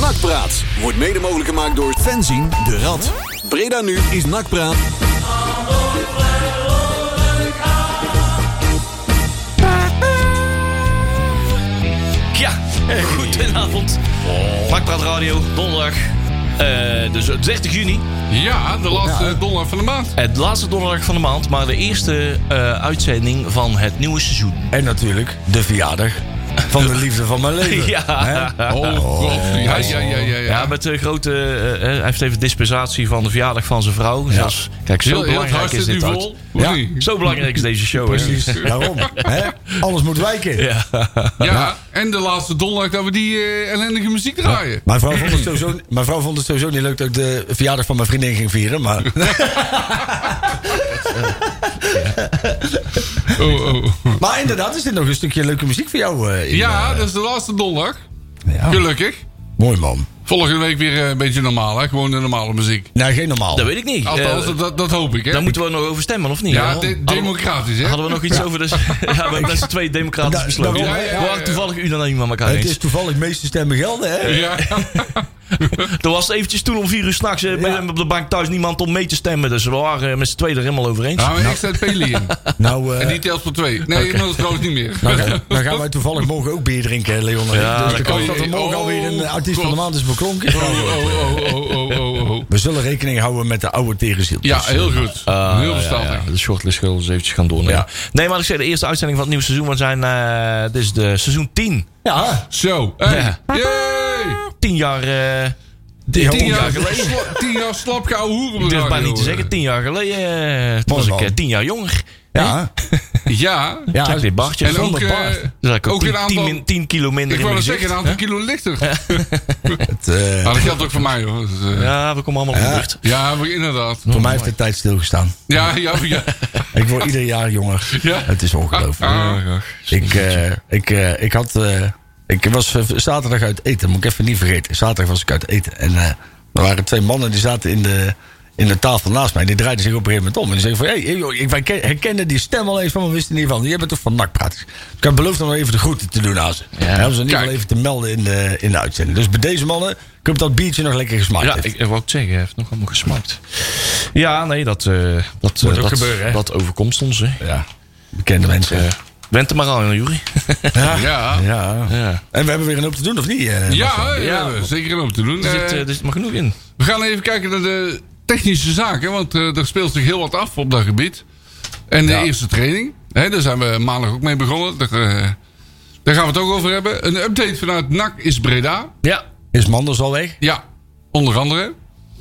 Nakpraat wordt mede mogelijk gemaakt door fanzine de Rad. Breda nu is Nakpraat. Ja, eh, goedenavond. Nakpraat Radio, Oh. donderdag. Eh, dus op 30 juni, Ja, de laatste dollar van de maand. het laatste donderdag van de maand, maar de eerste eh, uitzending van het nieuwe seizoen. En natuurlijk de verjaardag van de liefde van mijn leven. Ja. Hè? Oh, god. Ja, ja, ja, ja. Ja, ja. met de grote. eh, hij heeft even dispensatie van de verjaardag van zijn vrouw. Zelfs, kijk, zo Heel- heel het belangrijk huis is zit nu dit vol. uit. Of Ja. niet? Zo belangrijk is deze show. hè? Precies, daarom. Hè? Alles moet wijken. Ja. Ja, en de laatste donderdag dat we die eh, ellendige muziek draaien. Mijn vrouw, vond het sowieso, mijn vrouw vond het sowieso niet leuk dat ik de verjaardag van mijn vriendin ging vieren. Maar Oh, oh. Maar inderdaad, is dit nog een stukje leuke muziek voor jou? eh, in, Ja, dat is de laatste donderdag. eh, ja. Gelukkig. Mooi man. Volgende week weer eh, een beetje normaal, hè? Gewoon de normale muziek. Nee, geen normaal. Dat weet ik niet. Althans, Eh, dat, dat hoop ik, hè? daar moeten we nog over stemmen, of niet? ja, Hadden de- we- democratisch, hè? Hadden we nog iets over de. Ja, we hebben met z'n twee democratisch Da- besloten. daarom, hè? We waren toevallig unaniem aan elkaar het eens. is toevallig meeste stemmen gelden, hè? Ja. Nou, Er was eventjes toen om vier uur s'nachts Ja. op de bank thuis niemand om mee te stemmen. Dus we waren met z'n tweeën er helemaal over eens. Nou, en ik zet Peli in. Nou, eh, En die telt voor twee. Nee, inmiddels trouwens niet meer. nou, ga- nou gaan wij toevallig morgen ook bier drinken, Leon. en ik. Ja, dus de dat kans kan. dat er morgen Oh, alweer een artiest van de God. maand is beklonken. Oh, oh, oh, oh, oh, oh, oh. We zullen rekening houden met de oude tegenziel. Ja, Dus, eh, heel goed. heel verstandig. Ah, Ja, de shortlist gaan we eens eventjes gaan doornemen. Ja. Nee, maar ik zei, de eerste uitzending van het nieuwe seizoen. We zijn, eh dit is de seizoen 10. Ja, Zo. Hey. Ja. Yay! 10 jaar... eh Ja, Tien tien jaar, jaar sla- tien jaar slap geouwe hoeren. ik durf maar niet te bedragen, zeggen. 10 jaar geleden eh, Mooi toen was ik man. eh, 10 jaar jonger. ja. jongen. Ja. ja. Kijk, dit bartje. En ook, Zonder eh, baard. Dus ik ook ook een aantal- 10, kilo minder Ik in mijn wou nog zeggen, gezicht. een aantal kilo lichter. Het, eh, Maar dat geldt ook voor mij, hoor. Dus, eh, ja. Ja, we komen allemaal op de Ja. beurt. maar inderdaad. voor mij heeft de tijd stilgestaan. Ja, ja, ja. Ik word ieder jaar jonger. Ja. Het is ongelooflijk. Ah, Ik, eh, ik, eh, ik had. eh, ik was eh, zaterdag uit eten, moet ik even niet vergeten. Zaterdag was ik uit eten. En eh, er waren twee mannen die zaten in de, in de tafel naast mij. Die draaiden zich op een gegeven moment om. En die zeiden van, hé, hey, joh, ik wij ken- herkende die stem al even, maar we wisten niet van. Jij bent toch van nakpraat. Dus ik had beloofd om nog even de groeten te doen aan ze. Ja. En om ze in ieder geval Kijk. even te melden in de, in de uitzending. Dus bij deze mannen, ik heb dat biertje nog lekker gesmaakt. Ja, heeft. ik, ik wou het zeggen, hij heeft nog allemaal gesmaakt. Ja, nee, dat, eh, dat, eh, ook dat, gebeuren, hè? dat overkomt ons. Hè. ja bekende mensen. Eh, went er maar aan, Jury. ja. ja. Ja, Ja. ja. En we hebben weer een hoop te doen, of niet? eh, Marcel? hè, Ja. hebben we zeker een hoop te Er doen. Eh, zit, eh, er zit maar genoeg in. we gaan even kijken naar de technische zaken. Want eh, er speelt zich heel wat af op dat gebied. En de Ja. eerste training. Hè, daar zijn we maandag ook mee begonnen. Daar, eh, daar gaan we het ook over hebben. Een update vanuit NAC is Breda. Ja. Is Manders al weg? Ja, onder andere.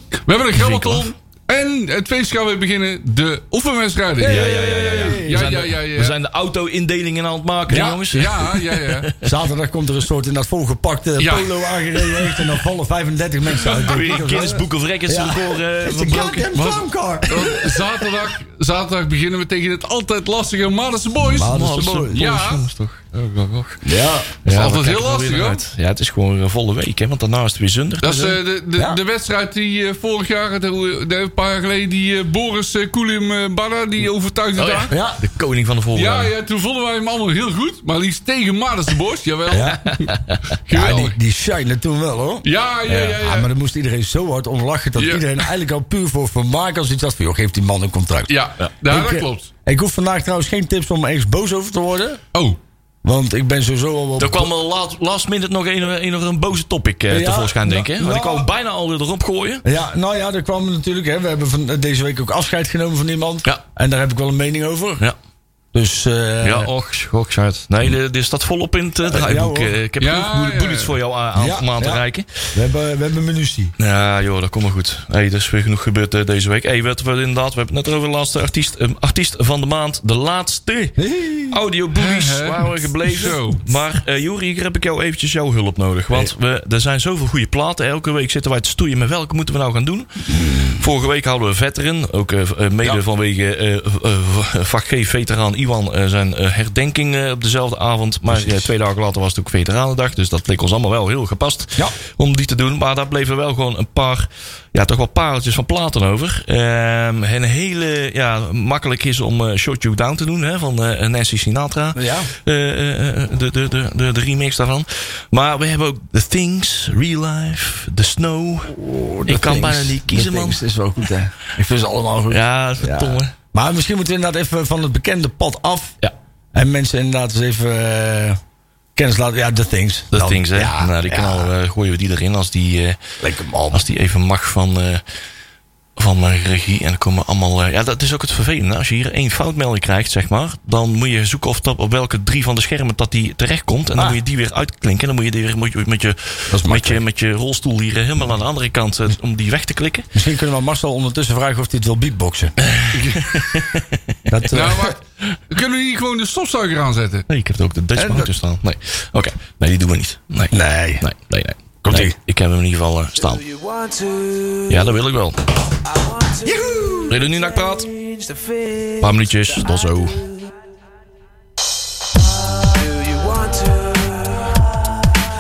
We hebben een grabbelton. Winkelaar. En het feest gaan weer beginnen. De oefenwedstrijden. Ja, ja, ja, ja, Ja, We zijn ja, de- ja, ja. We zijn de auto-indelingen aan het maken, hè, ja, jongens. Ja, ja, ja. Zaterdag komt er een soort in dat volgepakte Ja. polo aangereden heeft en dan vallen 35 mensen uit. Weer een Guinness Book of Records Ja. record, eh, It's a verbroken. goddamn clown car. Want Zaterdag, zaterdag beginnen we tegen het altijd lastige Maddense Boys. Madense Boys. Boys. Ja, Jongens, toch. Oh, oh, oh. Ja. Ja, altijd we kijken heel er lastig, weer naar hoor. uit. Ja, het is gewoon een volle week, hè, want daarna is het weer zondag. dat is Dus, eh, eh, de, de, Ja. de wedstrijd die eh, vorig jaar, de, de- een paar jaar geleden, die eh, Boris eh, Kulim eh, Barra, die overtuigde oh, ja. daar. Ja. De koning van de Ja, volgende. ja, toen vonden wij hem allemaal heel goed. Maar liefst tegen Maddense Boys, jawel. Ja. Ja, Geweldig. die, die shine toen wel hoor. Ja, ja, ah, ja. ja, Ja, maar dan moest iedereen zo hard om lachen dat Ja. iedereen eigenlijk al puur voor vermaak als iets had van joh, geef die man een contract. Ja, ja, Ik, dat eh, klopt. Ik hoef vandaag trouwens geen tips om ergens boos over te worden. Oh, Want ik ben sowieso al wel. Er kwam al laat, last minute nog een, eh, een, een, een boze topic eh, Ja, tevoorschijn, denk ik. hè. Want ik nou- wou hem bijna al weer erop gooien. Ja, nou ja, er kwam natuurlijk. Hè, we hebben van, eh, deze week ook afscheid genomen van iemand. Ja. En daar heb ik wel een mening over. Ja, Dus eh, ja och, schok, uit. Nee, de- dit staat volop in het eh, draaiboek. ja, hoor. eh. ik heb Ja, genoeg bullet- ja, ja. bullets voor jou eh, aan, aan, Ja, om aan te ja. reiken. we hebben, we hebben munitie. Ja, joh, dat komt maar goed. Hey, er is weer genoeg gebeurd eh, deze week. Hey, wat we inderdaad, we hebben het net over de laatste artiest, eh, artiest van de maand. De laatste audioboobies Hè, hè? waren we gebleven. Zo. Maar eh Juri, hier heb ik jou eventjes jouw hulp nodig. Want we, er zijn zoveel goede platen. Elke week zitten wij te stoeien met welke moeten we nou gaan doen. Vorige week hadden we Veteran. Ook eh, eh, mede vanwege eh eh, vakgeef veteraan Iwan Iwan eh, zijn eh, herdenking eh, op dezelfde avond. Maar eh, twee dagen later was het ook Veteranendag. Dus dat leek ons allemaal wel heel gepast Ja. om die te doen. Maar daar bleven wel gewoon een paar, ja, toch wel pareltjes van platen over. Ehm, en een hele, ja, makkelijk is om eh, Shot You Down te doen hè, van eh, Nancy Sinatra. Ja. Eh, eh, eh, de, de, de, de, de remix daarvan. Maar we hebben ook The Things, Real Life, The Snow. Ik kan bijna niet kiezen, man. Dat is wel goed, hè? Ik vind ze allemaal goed. Ja, verdomme. Maar misschien moeten we inderdaad even van het bekende pad af. Ja. En mensen inderdaad eens even eh, kennis laten. Ja, The Things. The Dan. Things, hè? Ja, nou, die ja. knal eh, gooien we die erin als die, eh, Lekker man. als die even mag van, eh, van mijn regie. En dan komen allemaal. eh, ja, dat is ook het vervelende. Als je hier één foutmelding krijgt, zeg maar. Dan moet je zoeken of dat, op welke drie van de schermen dat die terechtkomt. En dan Ah. moet je die weer uitklinken. En dan moet je die weer moet je, met, je, is met, je, makkelijk. met je rolstoel hier eh, helemaal aan de andere kant eh, om die weg te klikken. Misschien kunnen we Marcel ondertussen vragen of hij het wil beatboxen. dat, eh, Nou, wacht. Kunnen we niet gewoon de stofzuiger aanzetten? Nee, ik heb er ook de En Dutchman dat- te staan. Nee. Oké, nee, die doen we niet. Nee. Nee, nee. nee, nee. Komt-ie. Nee, Ik heb hem in ieder geval eh, staan. You want to, Ja, dat wil ik wel. I want to Wil je nu naar praat? Een change the face. paar minuutjes, tot zo. Do you want to?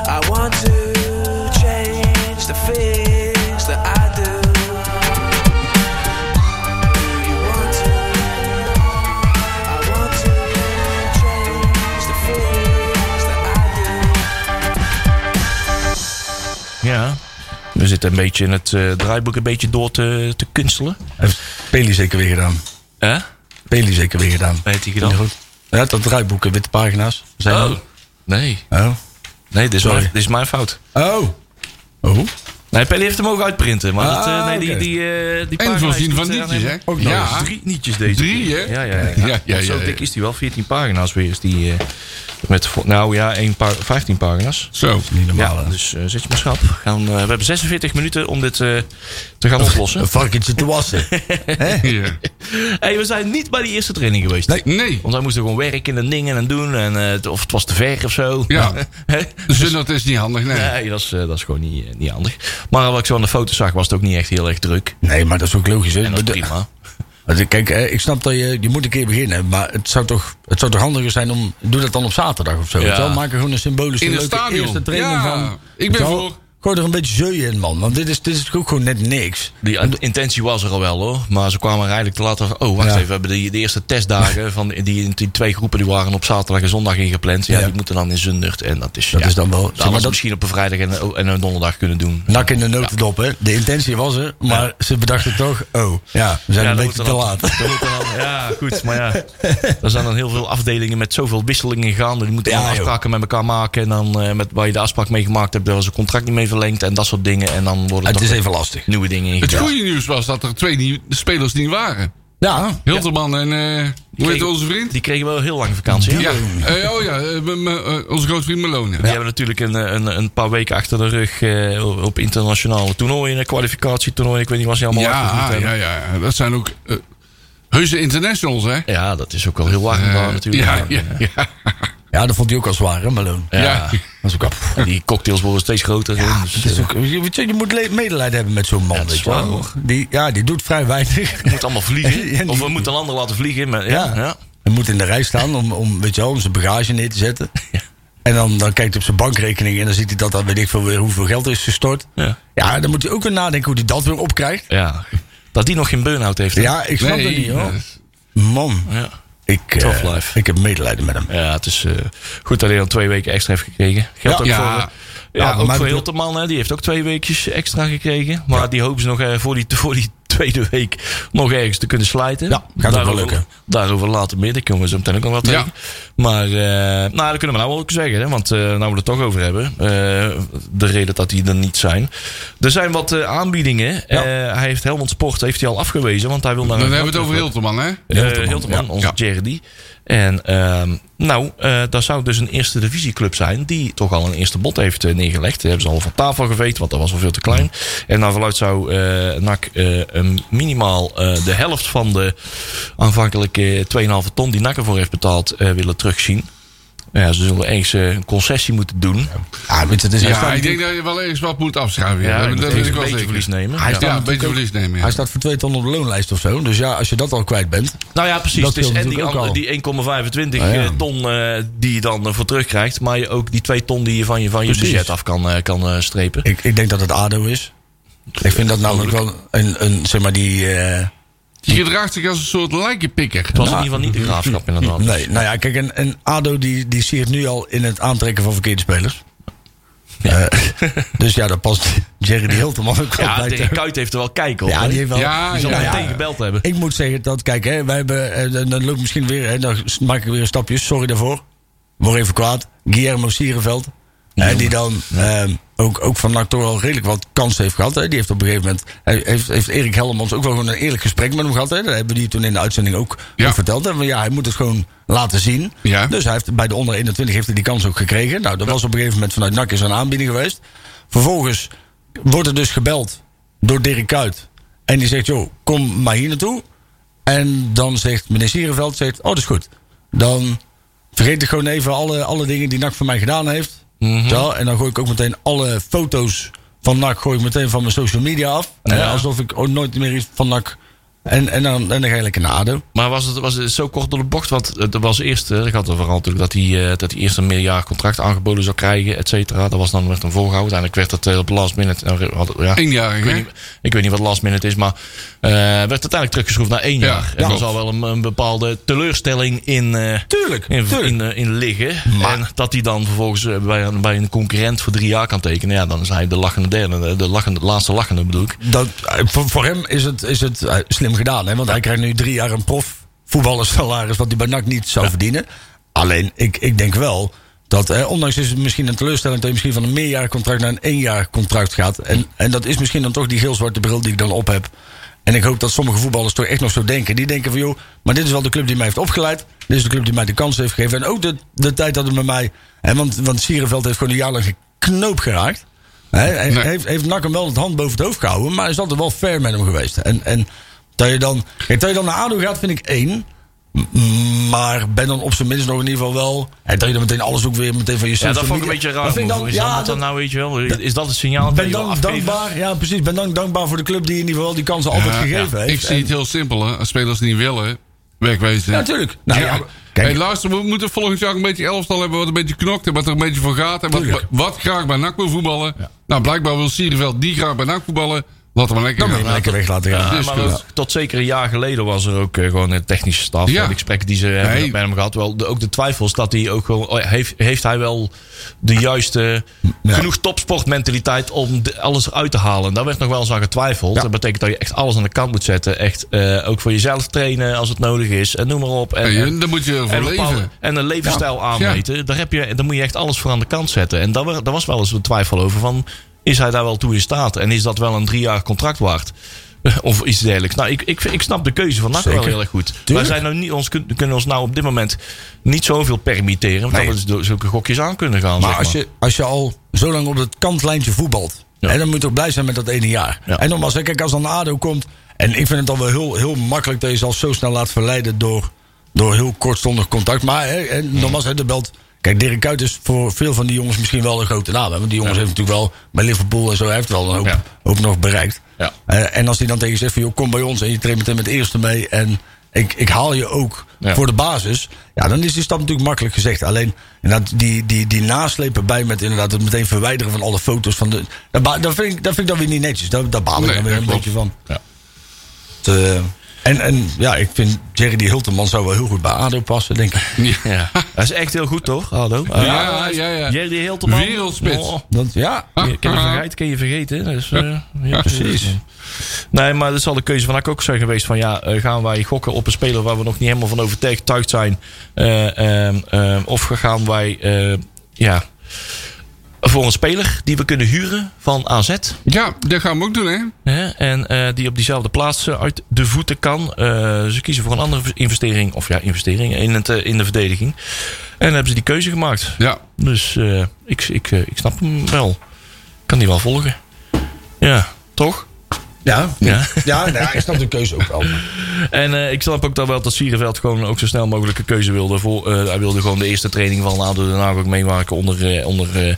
I want to change the face that I do. Do you want to? I want to change the face that I do. Ja. We zitten een beetje in het eh, draaiboek een beetje door te, te kunstelen. Heeft Peli zeker weer gedaan. Hè? Peli zeker weer gedaan. Weet hij dan? Goed. Ja, dat draaiboeken, witte pagina's. Zijn Oh. er- Nee. Oh. Nee, dit is, Sorry. mijn, dit is mijn fout. Oh. Oh. Nee, Pelly heeft hem ook uitprinten. Maar dat, eh, Ah, nee, die, oké. die, eh, die En pagina is voorzien van niet, eh, nietjes, hè? helemaal- Ook Ja. ja. drie nietjes deze. Drie, keer. hè? Ja, ja, ja. Ja, ja, ja, Zo ja. dik is die wel. 14 pagina's weer is die. eh, met, vo- nou ja, één paar, 15 pagina's. Zo. Niet normaal. Ja, hè? dus eh, zet je maar schap. Gaan, eh, we hebben 46 minuten om dit eh, te gaan Een oplossen. varkentje te wassen. Ja. hey, we zijn niet bij die eerste training geweest. Nee. Want wij moesten gewoon werken en dingen en doen. En, eh, het- of het was te ver of zo. Ja. Hè? Dus dat is niet handig, nee. nee, dat is, eh, dat is gewoon niet, eh, niet handig. Maar wat ik zo aan de foto zag, was het ook niet echt heel erg druk. Nee, maar dat is ook logisch. Hè? En dat is Nou, De- prima. Want Kijk, hè, ik snap dat je, je moet een keer beginnen. Maar het zou toch, het zou toch handiger zijn om... Doe dat dan op zaterdag of zo. Ja. weet je wel? Maak er gewoon een symbolische In het leuke stadion. eerste training Ja, van. ik weet je ben wel? voor. Gooi er een beetje zeuien in, man. Want dit is, dit is ook gewoon net niks. Die in- intentie was er al wel hoor. Maar ze kwamen er eigenlijk te laat. af- Oh, wacht Ja. even. We hebben die, de eerste testdagen van die, die, die twee groepen die waren op zaterdag en zondag ingepland. Ja, Ja. die moeten dan in Zundert. En dat is, Dat ja, is dan wel- zouden zeg maar ze dat- misschien op een vrijdag en, en een donderdag kunnen doen. Nak in de notendop, hè. De intentie was er, maar ze bedachten toch... Oh, ja, we zijn Ja, een dat beetje te moet dan- laat. dat moet dan- ja, goed. Maar ja, er zijn dan heel veel afdelingen met zoveel wisselingen gaande. Die moeten Ja, dan joh. afspraken met elkaar maken. En dan eh, met, waar je de afspraak mee gemaakt hebt, daar was een contract niet mee verlengd. En dat soort dingen. En dan worden er Het toch is weer even lastig. nieuwe dingen Het ingebracht. goede nieuws was dat er twee nieuw- spelers niet waren. Ja, Hilterman en, eh hoe heet kregen- onze vriend? Die kregen wel heel lang vakantie. hè? Ja, eh, oh ja, eh, m- m- eh, onze grote vriend Malone. Die hebben natuurlijk een, eh, een, een paar weken achter de rug eh, op internationale toernooien, eh, kwalificatietoernooien. Ik weet niet wat ze allemaal achter de rug Ja, ah, hebben. ja, ja, dat zijn ook eh, heuse internationals, hè? Ja, dat is ook wel heel lang maar Eh, natuurlijk. Ja, ja, ja. ja, dat vond hij ook al zwaar, hè, Malone. Ja. ja. Dat is ook al... En eh, Die cocktails worden steeds groter. hè, dus, Het is ook, je, weet je, je moet le- medelijden hebben met zo'n man, Ja, dat is weet je wel. waar, hoor. Die, ja, die doet vrij weinig. moet allemaal vliegen. Ja, die- of we moeten een ander laten vliegen. Maar, ja, Ja. ja. Hij moet in de rij staan om, om, weet je wel, om zijn bagage neer te zetten. En dan, dan kijkt hij op zijn bankrekening en dan ziet hij dat daar weet ik veel weer hoeveel geld er is gestort. Ja. Ja, dan moet hij ook weer nadenken hoe hij dat weer opkrijgt. Ja. Dat die nog geen burn-out heeft. hè? Ja, ik snap Nee, dat niet hoor. dat is- Man, Ja. ik, eh, Tough life. ik heb medelijden met hem. Ja, het is eh, goed dat hij dan twee weken extra heeft gekregen. Geldt Ja. ook Ja. voor, eh, ja, Ja, ook maar voor dat- Hilterman, hè, die heeft ook twee weekjes extra gekregen. Maar die hopen ze nog eh, voor, die, voor die tweede week nog ergens te kunnen slijten. Ja, gaat ook wel daarover, lukken. Daarover later meer, daar komen we zo meteen ook nog wel tegen. Maar eh, nou, dat kunnen we nou wel ook zeggen, hè, want eh nou we het er toch over hebben. eh, de reden dat die er niet zijn. Er zijn wat eh, aanbiedingen. Ja. Eh, hij heeft Helmond Sport heeft hij al afgewezen, want hij wil naar Dan een hebben we het over grote- Hilterman, hè? eh, Hilterman. Hilterman, Ja. onze Ja. Jerry. En ehm, nou, eh daar zou dus een eerste divisieclub zijn... die toch al een eerste bod heeft eh, neergelegd. Die hebben ze al van tafel geveegd, want dat was al veel te Mm. klein. En naar verluid zou eh NAC eh, een minimaal eh, de helft van de aanvankelijke 2,5 ton... die NAC ervoor heeft betaald, eh, willen terugzien. Ja, ze zullen ergens eh, een concessie moeten doen. Ja, Ah, weet je, het is, hij, Ja, staat, ik denk dat je wel ergens wat moet afschuiven. Ja. Ja, dat dat dat is weet ik een wel beetje zeker. verlies nemen. Hij Ja. staat ja, een beetje verlies nemen. hij Ja. staat voor 2 ton op de loonlijst of zo. Dus ja, als je dat al kwijt bent. Nou ja, precies. Dat het is scheelt en die, natuurlijk ook andere- al. die 1,25 Ah, ja. eh, ton eh, die je dan eh, voor terugkrijgt. Maar je ook die 2 ton die je van je, van je Precies. budget af kan, eh, kan eh, strepen. Ik, ik denk dat het ADO is. Ik vind dat namelijk wel een, een zeg maar die... eh, Je gedraagt zich als een soort lijkenpikker. Het was in ieder geval niet de graafschap inderdaad. nee, nou ja, kijk, en, en ADO die, die siert nu al in het aantrekken van verkeerde spelers. Eh, dus ja, daar past Jerry de Hilteman ook wel Ja, bij. Dirk te- Kuyt heeft er wel kijk op. Ja, hè? die heeft wel... Ja, Die zal ja, meteen ja. gebeld hebben. Ik moet zeggen dat, kijk, hè, wij hebben, eh, dan- dan loopt misschien weer, hè, dan maak ik weer een stapje, sorry daarvoor. Word even kwaad. Guillermo Sierenveld, hè, die dan ehm, ook, ook van NAC toch wel redelijk wat kansen heeft gehad. Hè. Die heeft op een gegeven moment, hij- heeft, heeft Erik Hellemans ook wel gewoon een eerlijk gesprek met hem gehad. Hè. Dat hebben die toen in de uitzending ook, Ja. ook verteld. Hè. Van, ja, hij moet het gewoon laten zien. Ja. Dus hij heeft, bij de onder 21 heeft hij die kans ook gekregen. Nou, dat was op een gegeven moment vanuit NAC is er een aanbieding geweest. Vervolgens wordt er dus gebeld door Dirk Kuyt. En die zegt, joh, kom maar hier naartoe. En dan zegt meneer Sierenveld, zegt, oh, dat is goed. Dan vergeet ik gewoon even alle, alle dingen die NAC voor mij gedaan heeft. Zo, en dan gooi ik ook meteen alle foto's van NAC gooi ik meteen van mijn social media af. Eh, alsof ik ook nooit meer iets van NAC... En, en, dan, en dan ga je lekker naar ADO. Maar was het, was het zo kort door de bocht? Want eh, er was eerst, eh, ik had het vooral natuurlijk dat hij, eh, dat hij eerst een meerjarig contract aangeboden zou krijgen, et cetera. Dat was dan werd een voorgehouden. Uiteindelijk werd dat eh, op last minute. eh, had- ja, Eenjarig, ik, weet hè? niet, ik weet niet wat last minute is, maar eh, werd uiteindelijk teruggeschroefd naar één Ja, jaar. En ja. er zal wel een, een bepaalde teleurstelling in, eh, Tuurlijk, in, tuurlijk. in, eh, in liggen. En dat hij dan vervolgens eh, bij, een- bij een concurrent voor drie jaar kan tekenen. Ja, dan is hij de lachende derde, eh, de, lachende, laatste lachende bedoel ik. Dat, eh, voor, voor hem is het, is het eh, slim gedaan. Hè? Want hij krijgt nu drie jaar een prof voetballersalaris... wat hij bij NAC niet zou verdienen. Alleen, ik, ik denk wel dat... Hè, ondanks is het misschien een teleurstelling... dat je misschien van een meerjarig contract naar een éénjarig contract gaat. En, en dat is misschien dan toch die geel-zwarte bril die ik dan op heb. En ik hoop dat sommige voetballers toch echt nog zo denken. Die denken van, joh, maar dit is wel de club die mij heeft opgeleid. Dit is de club die mij de kans heeft gegeven. En ook de, de tijd dat het met mij... Hè, want, want Sierenveld heeft gewoon een jaar lang geknoop geraakt. Hè, en Nee. heeft, heeft Nak hem wel het hand boven het hoofd gehouden. Maar is altijd wel fair met hem geweest. En, en dat, je dan, kijk, dat je dan naar ADO gaat, vind ik één. M- Maar ben dan op zijn minst nog in ieder geval wel... Hè, dat je dan meteen alles ook weer meteen van je Ja, dat social vond ik een media- beetje raar. Dat vind ik dan- move. is ja, dat, dat- dan nou, weet je wel, is dat het signaal dat ben je wil dan afgeven? dankbaar, ja precies. Ben dan dankbaar voor de club die in ieder geval die kansen altijd Ja, gegeven ja. heeft. Ik zie En- het heel simpel, hè. Als spelers niet willen, wegwezen. Ja, natuurlijk. Nou, Ja. ja, maar- kijk, hey, luister, we moeten volgend jaar een beetje elftal hebben wat een beetje knokt en wat er een beetje voor gaat. En wat, Tuurlijk. wat graag bij NAC wil voetballen. Nou, blijkbaar wil Sierenveld die graag bij NAC voetballen. Laat hem lekker dan moet je gaan. hem lekker weg laten gaan. Ja, Dus maar goed. ook tot zeker een jaar geleden was er ook eh, gewoon een technische staf. Ja. Ja. De gesprekken die ze hebben met hem gehad. Wel, de, ook de twijfels dat hij ook gewoon... oh, Heeft, heeft hij wel de juiste... Genoeg topsportmentaliteit om de- alles eruit te halen. Daar werd nog wel eens aan getwijfeld. Dat betekent dat je echt alles aan de kant moet zetten. Echt eh, ook voor jezelf trainen als het nodig is. En noem maar op. En, Hey, en- en daar moet je voor en, bepaalde- leven. en een levensstijl aanmeten. Daar, heb je, daar moet je echt alles voor aan de kant zetten. En daar, wa- daar was wel eens een twijfel over van... is hij daar wel toe in staat? En is dat wel een driejarig contract waard? Of iets dergelijks. Nou, ik, ik, ik snap de keuze van NAC wel Zeker. heel erg goed. Wij zijn nou niet, ons, kun- kunnen ons nou op dit moment niet zoveel permitteren... omdat Nee. we dus zulke gokjes aan kunnen gaan. zeg Maar als je, als je al zo lang op het kantlijntje voetbalt. Ja. Hè, dan moet je toch blij zijn met dat ene jaar. Ja. En nogmaals, hè, kijk, als dan ADO komt. En ik vind het al wel heel, heel makkelijk dat je zelf zo snel laat verleiden door, door heel kortstondig contact. Maar hè, en Mhm. nogmaals, hè, de belt. Kijk, Dirk Kuyt is voor veel van die jongens misschien wel een grote naam. hè, Want die jongens heeft natuurlijk wel bij Liverpool en zo hij heeft wel een hoop, Ja. hoop nog bereikt. Ja. Eh, en als die dan tegen je zegt van joh, kom bij ons en je treedt meteen met de eerste mee. En ik, ik haal je ook Ja. voor de basis. Ja, dan is die stap natuurlijk makkelijk gezegd. Alleen inderdaad, die, die, die naslepen bij met inderdaad het meteen verwijderen van alle foto's. Van de, dat, ba- dat, vind ik, dat vind ik dan weer niet netjes. Daar, daar baal ik Nee, dan weer dat een klopt. beetje van. Ja. Het, eh, en, en ja, ik vind Jerry die Hulteman zou wel heel goed bij ADO passen, denk ik. maar. Ja. Dat is echt heel goed, toch? Hallo. Eh, Ja, ja, ja. Jerry Hilteman. Wereldspits. Oh. Want, ja, Je kan je vergeten, kan je vergeten. Dus, eh, ja, precies. Nee, maar dat zal de keuze van Ak ook zijn geweest. Van ja, eh, gaan wij gokken op een speler waar we nog niet helemaal van overtuigd zijn? Eh, ehm, ehm, of gaan wij eh, ja, voor een speler die we kunnen huren van AZ? Ja, dat gaan we ook doen, hè? Hè, en eh, die op diezelfde plaats eh, uit de voeten kan. Eh, ze kiezen voor een andere investering. Of ja, investering in, het, eh, in de verdediging. En dan hebben ze die keuze gemaakt. Ja. Dus eh, ik, ik, eh, ik snap hem wel. Ik kan die wel volgen. Ja, toch? Ja, Ja. ja. nou ja, ik snap de keuze ook wel. En eh, ik snap ook dat wel dat Sierenveld gewoon ook zo snel mogelijk een keuze wilde. Voor, eh, hij wilde gewoon de eerste training van Ado Den Haag ook meemaken onder, eh, onder eh,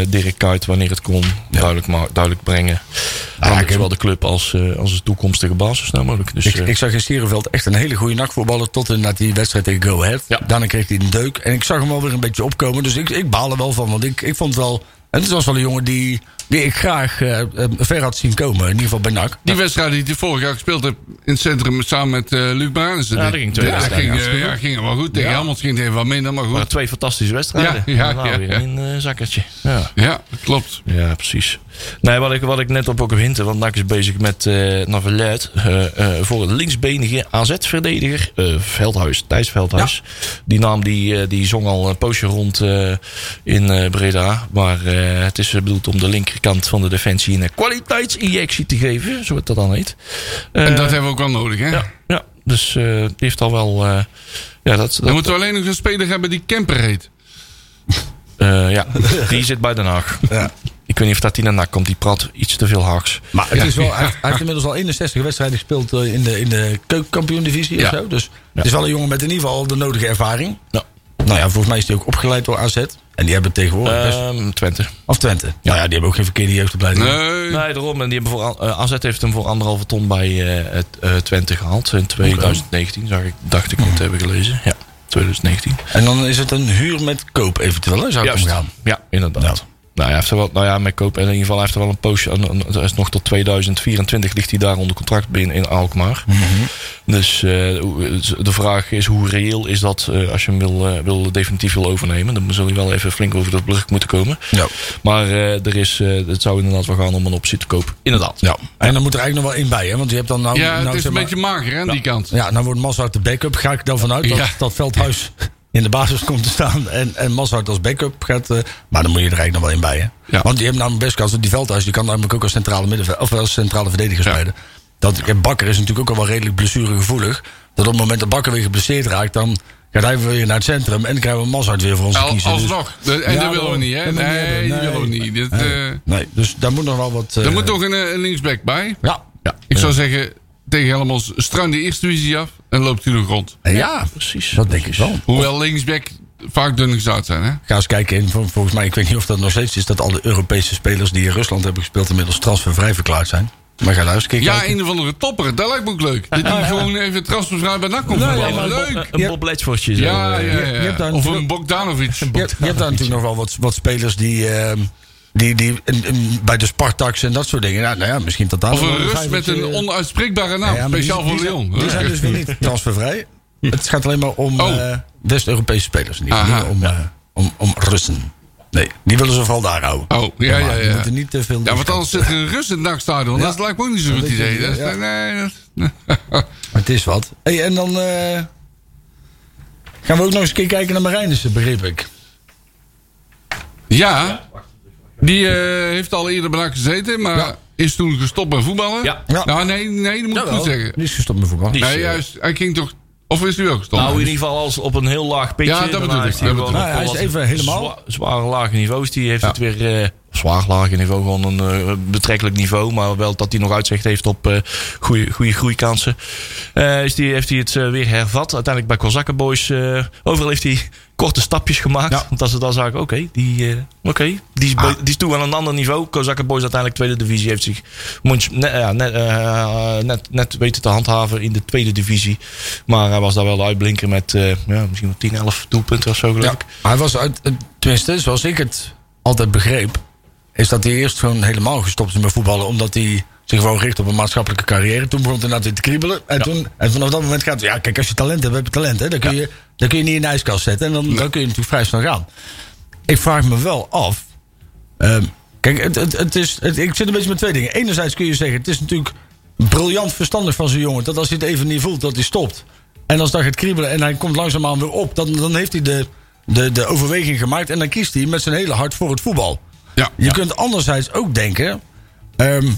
eh, Dirk Kuyt wanneer het kon. Duidelijk, ma- duidelijk brengen. ik Maar heb- zowel de club als, eh, als de toekomstige baas zo snel mogelijk. Dus, Ik, eh, ik zag in Stierenveld echt een hele goede nachtvoetballer tot inderdaad die wedstrijd tegen Go Ahead. Ja. Daarna kreeg hij een deuk en ik zag hem alweer een beetje opkomen. Dus ik, ik baal er wel van, want ik, ik vond wel... En het was wel een jongen die, die ik graag eh, eh, ver had zien komen. In ieder geval bij NAC. Die wedstrijd die hij vorig jaar gespeeld heeft in het centrum samen met eh Luc Barenissen. Ja, dat ging twee ja, wedstrijden ging, eh, hartstikke ja, ging wel goed. Tegen ja. ging het even wat minder, maar maar goed. twee fantastische wedstrijden. Ja, ja, En daarna ja, weer ja. een eh, zakkertje. Ja. Ja, klopt. Ja, precies. Nee, wat ik, wat ik net op ook hinten, want NAC is bezig met eh Navelet eh, eh, voor het linksbenige AZ-verdediger eh, Veldhuis, Thijs Veldhuis. Die naam die, eh, die zong al een poosje rond eh, in eh, Breda. Maar eh, het is eh, bedoeld om de linkerkant van de defensie een kwaliteitsinjectie te geven, zo het dat dan heet. Eh, En dat hebben we ook wel nodig, hè? ja, ja, dus eh, die heeft al wel... eh, ja, dat, Dan dat- moeten we alleen nog een speler hebben die Kemper heet. eh, ja, die zit bij Den Haag. Ik weet niet of dat die naar NAC komt, die praat iets te veel Haags. Maar het is wel, hij, hij heeft inmiddels al 61 wedstrijden gespeeld eh, in de, in de keukenkampioen-divisie Ja. of zo. Dus het is wel een jongen met in ieder geval de nodige ervaring. Ja. Nou ja, volgens mij is hij ook opgeleid door AZ. En die hebben tegenwoordig best... Ehm, Twente. Of Twente. Nou ja, die hebben ook geen verkeerde jeugdopleiding. Nee. Nee, Nou, daarom. En die hebben voor, eh, AZ heeft hem voor anderhalve ton bij eh, het, eh, Twente gehaald. In 2019, zag ik, dacht ik het hebben gelezen. Ja, 2019. En dan is het een huur met koop eventueel, hè, zou ik Juist. om gaan. Ja, inderdaad. Nou, hij heeft er wel, nou ja, met koop en in ieder geval hij heeft er wel een poosje. aan- aan- Hij is nog tot 2024 ligt hij daar onder contract binnen in Alkmaar. Dus eh, de vraag is hoe reëel is dat eh, als je hem wil, eh, wil, definitief wil overnemen. Dan zul je wel even flink over de brug moeten komen. Ja. Maar eh, er is, eh, het zou inderdaad wel gaan om een optie te kopen. Inderdaad. Ja. En dan moet er eigenlijk nog wel in bij, hè? Want je hebt dan nou... Ja, nou, het is zeg een maar- beetje mager hè, aan die kant. Ja, nou wordt Massoud de backup. Ga ik dan vanuit dat, Ja. dat Veldhuis in de basis komt te staan. En, en Massoud als backup gaat... eh, maar dan moet je er eigenlijk nog wel in bij, hè? Ja. Want je hebt namelijk best kans dat die Veldhuis... die kan namelijk ook als centrale, middenveld, of als centrale verdediger spelen. Dat, en Bakker is natuurlijk ook al wel redelijk blessuregevoelig. Dat op het moment dat Bakker weer geblesseerd raakt... dan gaat hij weer naar het centrum... en dan krijgen we Massoud weer voor ons te Al, kiezen. Dus- alsnog. De- en Ja, dat willen we daarom. niet, hè? Dat willen we niet Nee, hebben. Nee. die willen we niet. Dit, eh, Nee, dus daar moet nog wel wat... eh, er moet toch een, eh, een linksback bij. Ja. Ja. Ik zou zeggen, tegen Helmond, struin de eerste divisie af en loopt u nog rond. ja, Precies. dat denk ik wel. Hoewel linksback vaak dun gezout zijn, hè? Ga eens kijken, in, vol- volgens mij, ik weet niet of dat nog steeds is... dat alle Europese spelers die in Rusland hebben gespeeld... inmiddels transfervrij verklaard zijn. Maar ga daar eens kijken. Ja, een of andere topper. Dat lijkt me ook leuk. Dat hij gewoon even transfervrij bij NAC komt voetballen. Leuk! Een Bob Ledfordje. zo, Ja, eh. ja, ja. je hebt daar Of een natuurlijk- Bogdanovic. je, hebt- je hebt daar natuurlijk nog wel wat, wat spelers die... ehm, die, die in- in- bij de Spartaks en dat soort dingen. Nou, nou ja, misschien dat daar Of nog een wel Rus met vijvertje- een onuitspreekbare Ja, naam. maar die- Speciaal voor die zijn- Leon. Die zijn dus weer niet transfervrij. Het gaat alleen maar om Oh. eh, West-Europese spelers. Niet, Aha. niet om, eh, om, om Russen. Nee, die willen ze vooral daar houden. Oh, ja, ja, Maar die ja. moeten niet te veel... Ja, want anders zit er een Rus in het NAC-stadion. Dat lijkt me ook niet zo'n goed Dat idee. denk ik, Dat is- ja. Nee, dat... Maar het is wat. Hey, en dan eh, gaan we ook nog eens een keer kijken naar Marijnissen, begreep ik. Ja, die eh, heeft al eerder bij NAC gezeten, maar Ja. is toen gestopt met voetballen. Ja. Ja. Nou, nee, nee, dat moet ik goed zeggen. Die is gestopt met voetbal. Die is, Nee, eh, juist, hij ging toch... Of is hij wel gestopt? Nou, in ieder geval als op een heel laag pitje. Ja, dat Daarna bedoel ik, heeft Hij dat gewoon bedoel ik. Nou ja, hij is wat even helemaal- zwa- zware lage niveaus. Die heeft Ja. het weer... eh, zwaar lage niveau, gewoon een eh, betrekkelijk niveau. Maar wel dat hij nog uitzicht heeft op eh goede groeikansen. Eh, is die, heeft hij het eh, weer hervat. Uiteindelijk bij Kozakken Boys. eh, overal heeft hij korte stapjes gemaakt. Ja. Ah. Want als ze dan zagen, oké, die, eh oké, die, is be- die is toe aan een ander niveau. Kozakken Boys uiteindelijk tweede divisie. Heeft zich mondje- net, ja, net, eh, net, net weten te handhaven in de tweede divisie. Maar hij was daar wel de uitblinker met eh, ja, misschien wel 10, 11 doelpunten of zo geloof Ja. ik. Hij was uit, eh, tenminste, zoals ik het altijd begreep, is dat hij eerst gewoon helemaal gestopt is met voetballen, omdat hij zich gewoon richt op een maatschappelijke carrière. Toen begon hij inderdaad weer te kriebelen. En, toen, en vanaf dat moment gaat het, ja, kijk, als je talent hebt, heb je talent. Hè? Dan, kun je, dan kun je niet in de ijskast zetten en dan, dan kun je natuurlijk vrij snel gaan. Ik vraag me wel af. ehm, kijk, het, het, het is, het- ik zit een beetje met twee dingen. Enerzijds kun je zeggen, het is natuurlijk briljant verstandig van zo'n jongen... dat als hij het even niet voelt, dat hij stopt. En als dat gaat kriebelen en hij komt langzaamaan weer op... dan, dan heeft hij de, de, de overweging gemaakt en dan kiest hij met zijn hele hart voor het voetbal. Ja. Je kunt anderzijds ook denken... ehm,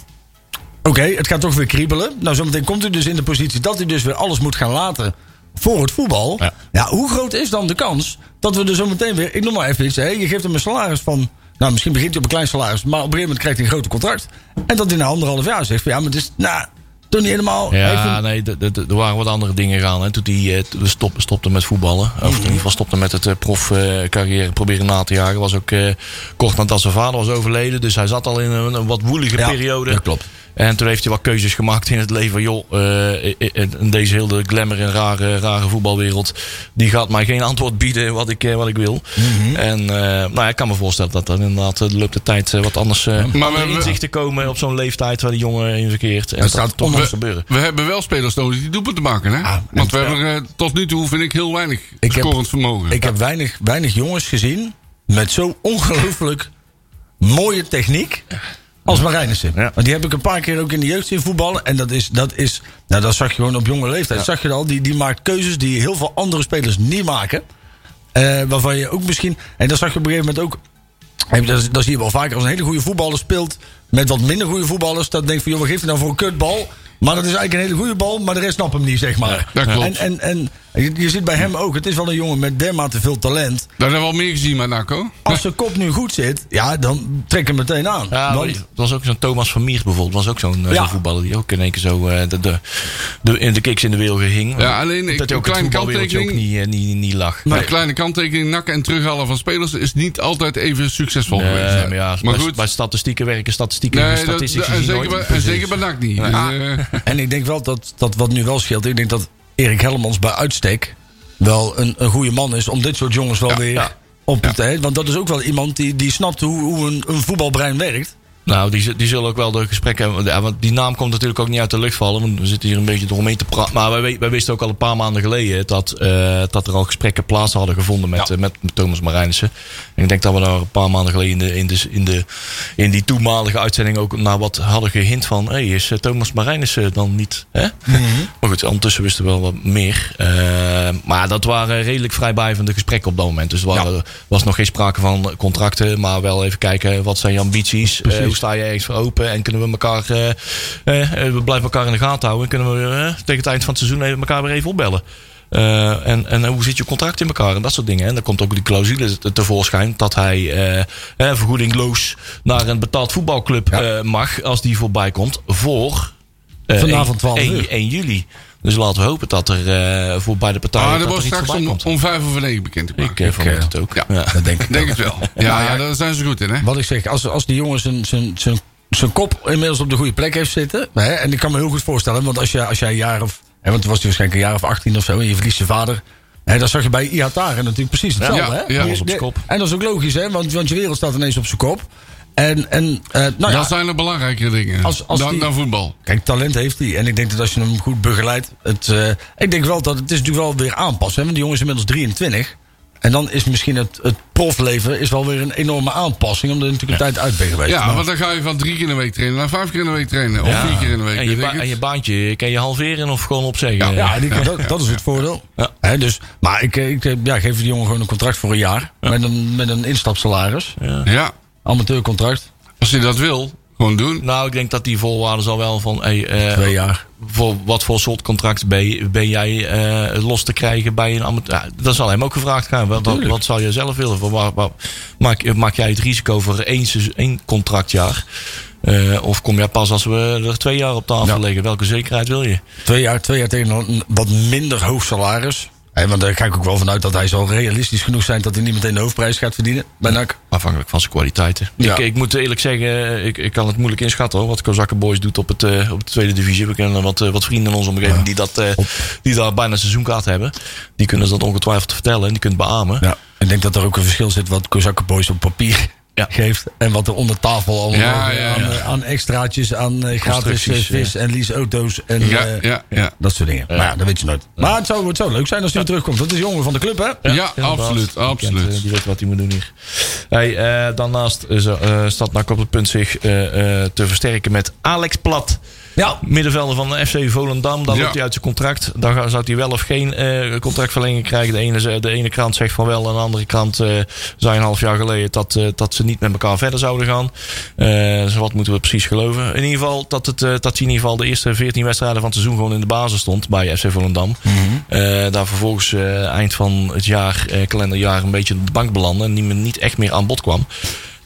Oké, het gaat toch weer kriebelen. Nou, zometeen komt u dus in de positie dat hij dus weer alles moet gaan laten voor het voetbal. Ja. Ja, hoe groot is dan de kans dat we er zometeen weer... Ik noem maar even iets, hè, je geeft hem een salaris van Nou, misschien begint hij op een klein salaris, maar op een gegeven moment krijgt hij een groot contract. En dat hij na anderhalf jaar zegt: van, Ja, maar het is nou, toch niet helemaal. Hij heeft Ja, een- nee, d- d- d- er waren wat andere dingen gaan. Hè. Toen hij stop, stopte met voetballen. Of in Mhm. ieder geval stopte met het eh, profcarrière proberen na te jagen. Was ook eh, kort nadat zijn vader was overleden. Dus hij zat al in een, een wat woelige Ja, periode. dat klopt. En toen heeft hij wat keuzes gemaakt in het leven. Joh, eh, eh, eh, in deze hele glamour en rare, rare voetbalwereld. Die gaat mij geen antwoord bieden wat ik, eh, wat ik wil. Mhm. En eh, nou, ik kan me voorstellen dat dat inderdaad eh, de loop der tijd eh, wat anders eh we andere hebben- inzichten komen op zo'n leeftijd waar die jongen in verkeert. En Dat dat staat staat toch onder- moet gebeuren. We hebben wel spelers nodig die doelpunten maken, hè? Ah, Want we hebben er, eh, tot nu toe, vind ik, heel weinig heb- scorend vermogen. Ik heb weinig, weinig jongens gezien met zo ongelooflijk mooie techniek als Marijnissen. Ja. Want die heb ik een paar keer ook in de jeugd zien voetballen. En dat is, dat is nou dat zag je gewoon op jonge leeftijd. Zag je dat al, die, die maakt keuzes die heel veel andere spelers niet maken. Eh, waarvan je ook misschien, en dat zag je op een gegeven moment ook en Dat, dat zie je wel vaker. Als een hele goede voetballer speelt met wat minder goede voetballers... dan denk je van, joh, wat geeft hij nou voor een kutbal? Maar dat is eigenlijk een hele goede bal, maar de rest snapt hem niet, zeg maar. Ja, dat klopt. En, en, en je, je ziet bij hem ook, het is wel een jongen met dermate veel talent. Daar hebben we al meer gezien, maar Naco. Als zijn kop nu goed zit, ja, dan trek hem meteen aan. Ja, Want- het was ook zo'n Thomas van Miers bijvoorbeeld. was ook zo'n eh, Ja. zo'n voetballer die ook in één keer zo eh, de, de, de, in de kiks in de wilgen hing. Ja, alleen ik- dat hij een ook het kleine voetbalwereldje ook kanttekening. niet, eh, niet, niet lag. Maar een kleine kanttekening, nakken en terughalen van spelers is niet altijd even succesvol Nee, geweest. Eh, maar ja, maar bij, goed. bij statistieken werken statistieken Nee, en dat- statistisch en gezien zeker, nooit Nou, bij, en precies. zeker bij NAC niet. Dus, eh, En ik denk wel dat, dat wat nu wel scheelt. Ik denk dat Erik Helmans bij uitstek wel een, een goede man is om dit soort jongens wel weer ja. op het hè, Want dat is ook wel iemand die, die snapt hoe, hoe een, een voetbalbrein werkt. Nou, die, z- die zullen ook wel de gesprekken hebben. Ja, want die naam komt natuurlijk ook niet uit de lucht vallen. Want we zitten hier een beetje eromheen te praten. Maar wij, we- wij wisten ook al een paar maanden geleden dat, eh, dat er al gesprekken plaats hadden gevonden met, eh, met, met Thomas Marijnissen. En ik denk dat we daar een paar maanden geleden in, de, in, de, in, de, in die toenmalige uitzending ook naar wat hadden gehint van. Hey, is eh, Thomas Marijnissen dan niet? Hè? Maar goed, ondertussen wisten we wel wat meer. Eh, maar dat waren redelijk vrijblijvende gesprekken op dat moment. Dus er waren- was nog geen sprake van contracten. Maar wel even kijken, wat zijn je ambities? Eh, hoe sta je ergens voor open? En kunnen we elkaar, eh, eh, eh, we blijven elkaar in de gaten houden. En kunnen we eh, tegen het eind van het seizoen even elkaar weer even opbellen? Eh, en, en hoe zit je contract in elkaar en dat soort dingen. En dan komt ook die clausule te- tevoorschijn dat hij eh, eh, vergoedingloos naar een betaald voetbalclub eh, mag als die voorbij komt voor eh, Vanavond 12 1, uur. 1 juli. Dus laten we hopen dat er eh, voor beide partijen ah, dat dat er wordt iets straks voorbij om, komt. om vijf over negen bekend te ik maken. eh, vermoed het ook. ja. Ja. Dat denk ik. Denk het wel. Ja, ja, daar zijn ze goed in, hè? Wat ik zeg, als, als die jongen zijn, zijn, zijn, zijn kop inmiddels op de goede plek heeft zitten. Hè, en ik kan me heel goed voorstellen, want als, je, als jij een jaar of. Hè, want toen was hij waarschijnlijk een jaar of 18 of zo. En je verliest je vader. Hè, dat zag je bij Iataren natuurlijk precies hetzelfde. Ja, hè? ja, alles op z'n kop. En dat is ook logisch, hè? Want, want je wereld staat ineens op zijn kop. En, en eh, nou ja, dat zijn er belangrijkere dingen Als- als dan, die- dan voetbal. Kijk, talent heeft hij. En ik denk dat als je hem goed begeleidt. Het, eh, ik denk wel dat het is natuurlijk wel weer aanpassen. Hè? Want die jongen is inmiddels 23. En dan is misschien het, het profleven is wel weer een enorme aanpassing. Omdat hij natuurlijk een tijd uit bent geweest. Ja, Maar- want dan ga je van drie keer in de week trainen naar vijf keer in de week trainen. Of Ja. vier keer in de week. En je, weet ba- ik het. en je baantje kan je halveren of gewoon opzeggen. Ja, en ik- dat, dat is het voordeel. Ja. Hè, dus, maar ik, eh, ik eh, ja, geef die jongen gewoon een contract voor een jaar. Met, een, met een instapsalaris. ja, Amateurcontract. als je dat wil, gewoon doen. Nou, ik denk dat die voorwaarden zal wel van... Hey, eh, Twee jaar. voor wat voor soort contract ben, je- ben jij eh, los te krijgen bij een amateur? Ja, dat zal hem ook gevraagd gaan. Wat, wat, wat zal je zelf willen? Voor waar- waar- maak, maak jij het risico voor één, seizoen- één contractjaar? Eh, of kom jij pas als we er twee jaar op tafel liggen? Welke zekerheid wil je? Twee jaar, twee jaar tegen een wat minder hoog salaris. Hè, want daar ga ik ook wel vanuit dat hij zal realistisch genoeg zijn... dat hij niet meteen de hoofdprijs gaat verdienen. Bij NAC. Afhankelijk van zijn kwaliteiten. Ja. Ik, ik moet eerlijk zeggen, eh, ik, ik kan het moeilijk inschatten hoor, wat Kozakken Boys doet op, het, eh, op de tweede divisie. We kennen wat, eh, wat vrienden in onze omgeving die, dat, eh, die daar bijna een seizoenkaart hebben. Die kunnen ze dat ongetwijfeld vertellen en die kunnen het beamen. Ja. Ik denk dat er ook een verschil zit wat Kozakken Boys op papier Ja. geeft. En wat er onder tafel allemaal Ja, eh, ja, aan, ja. eh, aan extraatjes, aan eh, gratis eh, Constructies, vis en leaseauto's. En, Ja, eh, ja, ja. Dat soort dingen. Maar ja, dat weet je nooit. Maar het zou, het zou leuk zijn als hij weer terugkomt. Dat is een jongen van de club, hè? Ja, inderdaad. absoluut, Die kent, eh, absoluut. die weet wat hij moet doen hier. Hey, eh, daarnaast is, eh, staat NAC op het punt zich eh, eh, te versterken met Alex Plat. Ja. Middenvelder van de FC Volendam. Dan Ja. loopt hij uit zijn contract. Dan ga- zou hij wel of geen eh, contractverlenging krijgen. De ene, ze- de ene krant zegt van wel. En de andere krant eh, zei een half jaar geleden dat, eh, dat ze niet met elkaar verder zouden gaan. Eh, dus wat moeten we precies geloven? In ieder geval dat, het, eh, dat hij in ieder geval de eerste 14 wedstrijden van het seizoen gewoon in de basis stond bij FC Volendam. Eh, daar vervolgens eh, eind van het jaar, eh, kalenderjaar, een beetje op de bank belandde. En niet, meer- niet echt meer aan bod kwam.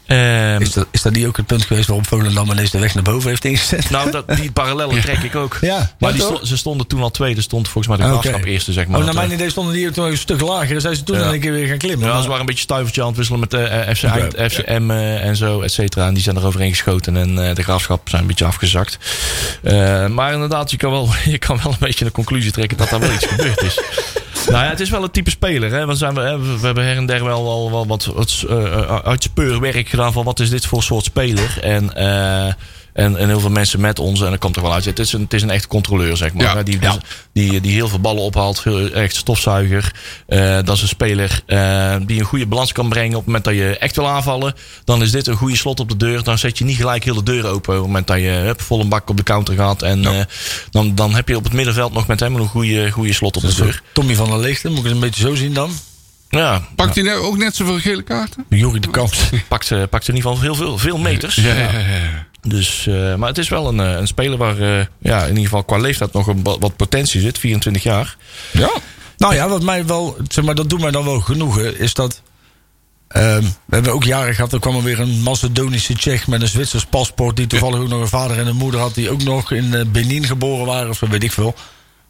Ehm, Is dat, is dat niet ook het punt geweest waarop Volendam ineens de weg naar boven heeft ingezet? Oh, nou, dat, die parallellen trek ik ook. Ja, maar maar die toch? sto- ze stonden toen al tweede. Stond volgens mij de graafschap eerste, zeg maar. Oh, naar Dat, mijn idee stonden die toen een stuk lager. en Zijn ze toen Ja. dan een keer weer gaan klimmen? Ja, Maar- ze waren een beetje stuivertje aan het wisselen met eh, eh, FC Eind, FCM eh, en zo, et cetera. En die zijn er overheen geschoten en eh, de graafschap zijn een beetje afgezakt. Eh, maar inderdaad, je kan, wel, je kan wel een beetje de conclusie trekken dat daar wel iets gebeurd is. Nou ja, het is wel een type speler. Hè? Want zijn we, hè, we hebben her en der wel, wel, wel wat, wat eh, uitspeurwerk gedaan van wat is dit voor soort speler. En, eh, en, en heel veel mensen met ons, en dat komt er wel uit. Het is een, het is een echt controleur, zeg maar. Ja. hè, Die, dus- Die, die heel veel ballen ophaalt, veel, echt stofzuiger. Eh, dat is een speler eh, die een goede balans kan brengen. Op het moment dat je echt wil aanvallen, dan is dit een goede slot op de deur. Dan zet je niet gelijk heel de deur open. Op het moment dat je hup, vol een bak op de counter gaat. En eh, dan, dan heb je op het middenveld nog met hem een goede, goede slot op de deur. Tommy van der Leegte, moet ik het een beetje zo zien dan? Ja, Pakt hij nou ook net zoveel gele kaarten? Jorrie de Kamps. pakt, eh, pakt in ieder geval heel veel, veel meters. ja. Dus, eh, maar het is wel een, eh, een speler waar eh, ja, in ieder geval qua leeftijd nog een, wat wat potentie zit. 24 jaar. Nou ja, wat mij wel, zeg maar, dat doet mij dan wel genoegen, is dat. ehm, we hebben ook jaren gehad, er kwam er weer een Macedonische Tsjech met een Zwitsers paspoort. die toevallig ook nog een vader en een moeder had. die ook nog in eh, Benin geboren waren, of zo weet ik veel.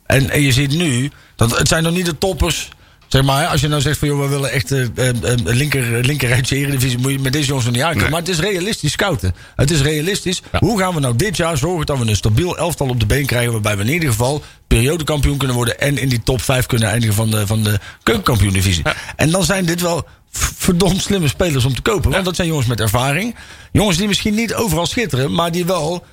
En, en je ziet nu, dat, het zijn nog niet de toppers. Zeg maar, hè, als je nou zegt van joh, we willen echt eh, eh, eh, linker, linkerrijtje eredivisie, moet je met deze jongens nog niet uitkomen. Maar het is realistisch scouten. Het is realistisch. Hoe gaan we nou dit jaar zorgen dat we een stabiel elftal op de been krijgen, waarbij we in ieder geval periodekampioen kunnen worden en in die top 5 kunnen eindigen van de, van de keukenkampioen-divisie. En dan zijn dit wel v- verdomd slimme spelers om te kopen. Want dat zijn jongens met ervaring. Jongens die misschien niet overal schitteren, maar die wel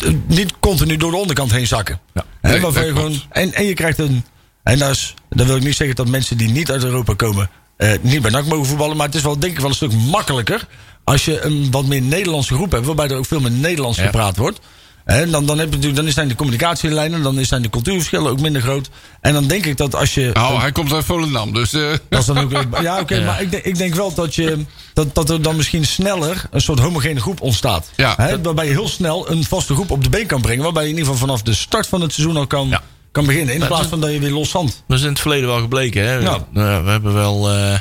eh, niet continu door de onderkant heen zakken. Hè, Nee, waarvan dat je gewoon, klopt. en, en je krijgt een. En dat, is, dat wil ik niet zeggen dat mensen die niet uit Europa komen. eh, niet bij NAC mogen voetballen. Maar het is wel, denk ik, wel een stuk makkelijker. als je een wat meer Nederlandse groep hebt. waarbij er ook veel meer Nederlands gepraat wordt. En dan, dan, heb je natuurlijk, dan zijn de communicatielijnen. dan zijn de cultuurverschillen ook minder groot. En dan denk ik dat als je. Nou, hij komt uit Volendam, dus... eh, Dat is dan ook, ja, oké, maar ik, denk- ik denk wel dat, je, dat, dat er dan misschien sneller een soort homogene groep ontstaat. Ja. Hè, waarbij je heel snel een vaste groep op de been kan brengen. Waarbij je in ieder geval vanaf de start van het seizoen al kan, Ja. kan beginnen. In Maar plaats het- van dat je weer los zand. Dat is in het verleden wel gebleken. Hè? Ja. Nou, we hebben wel. eh,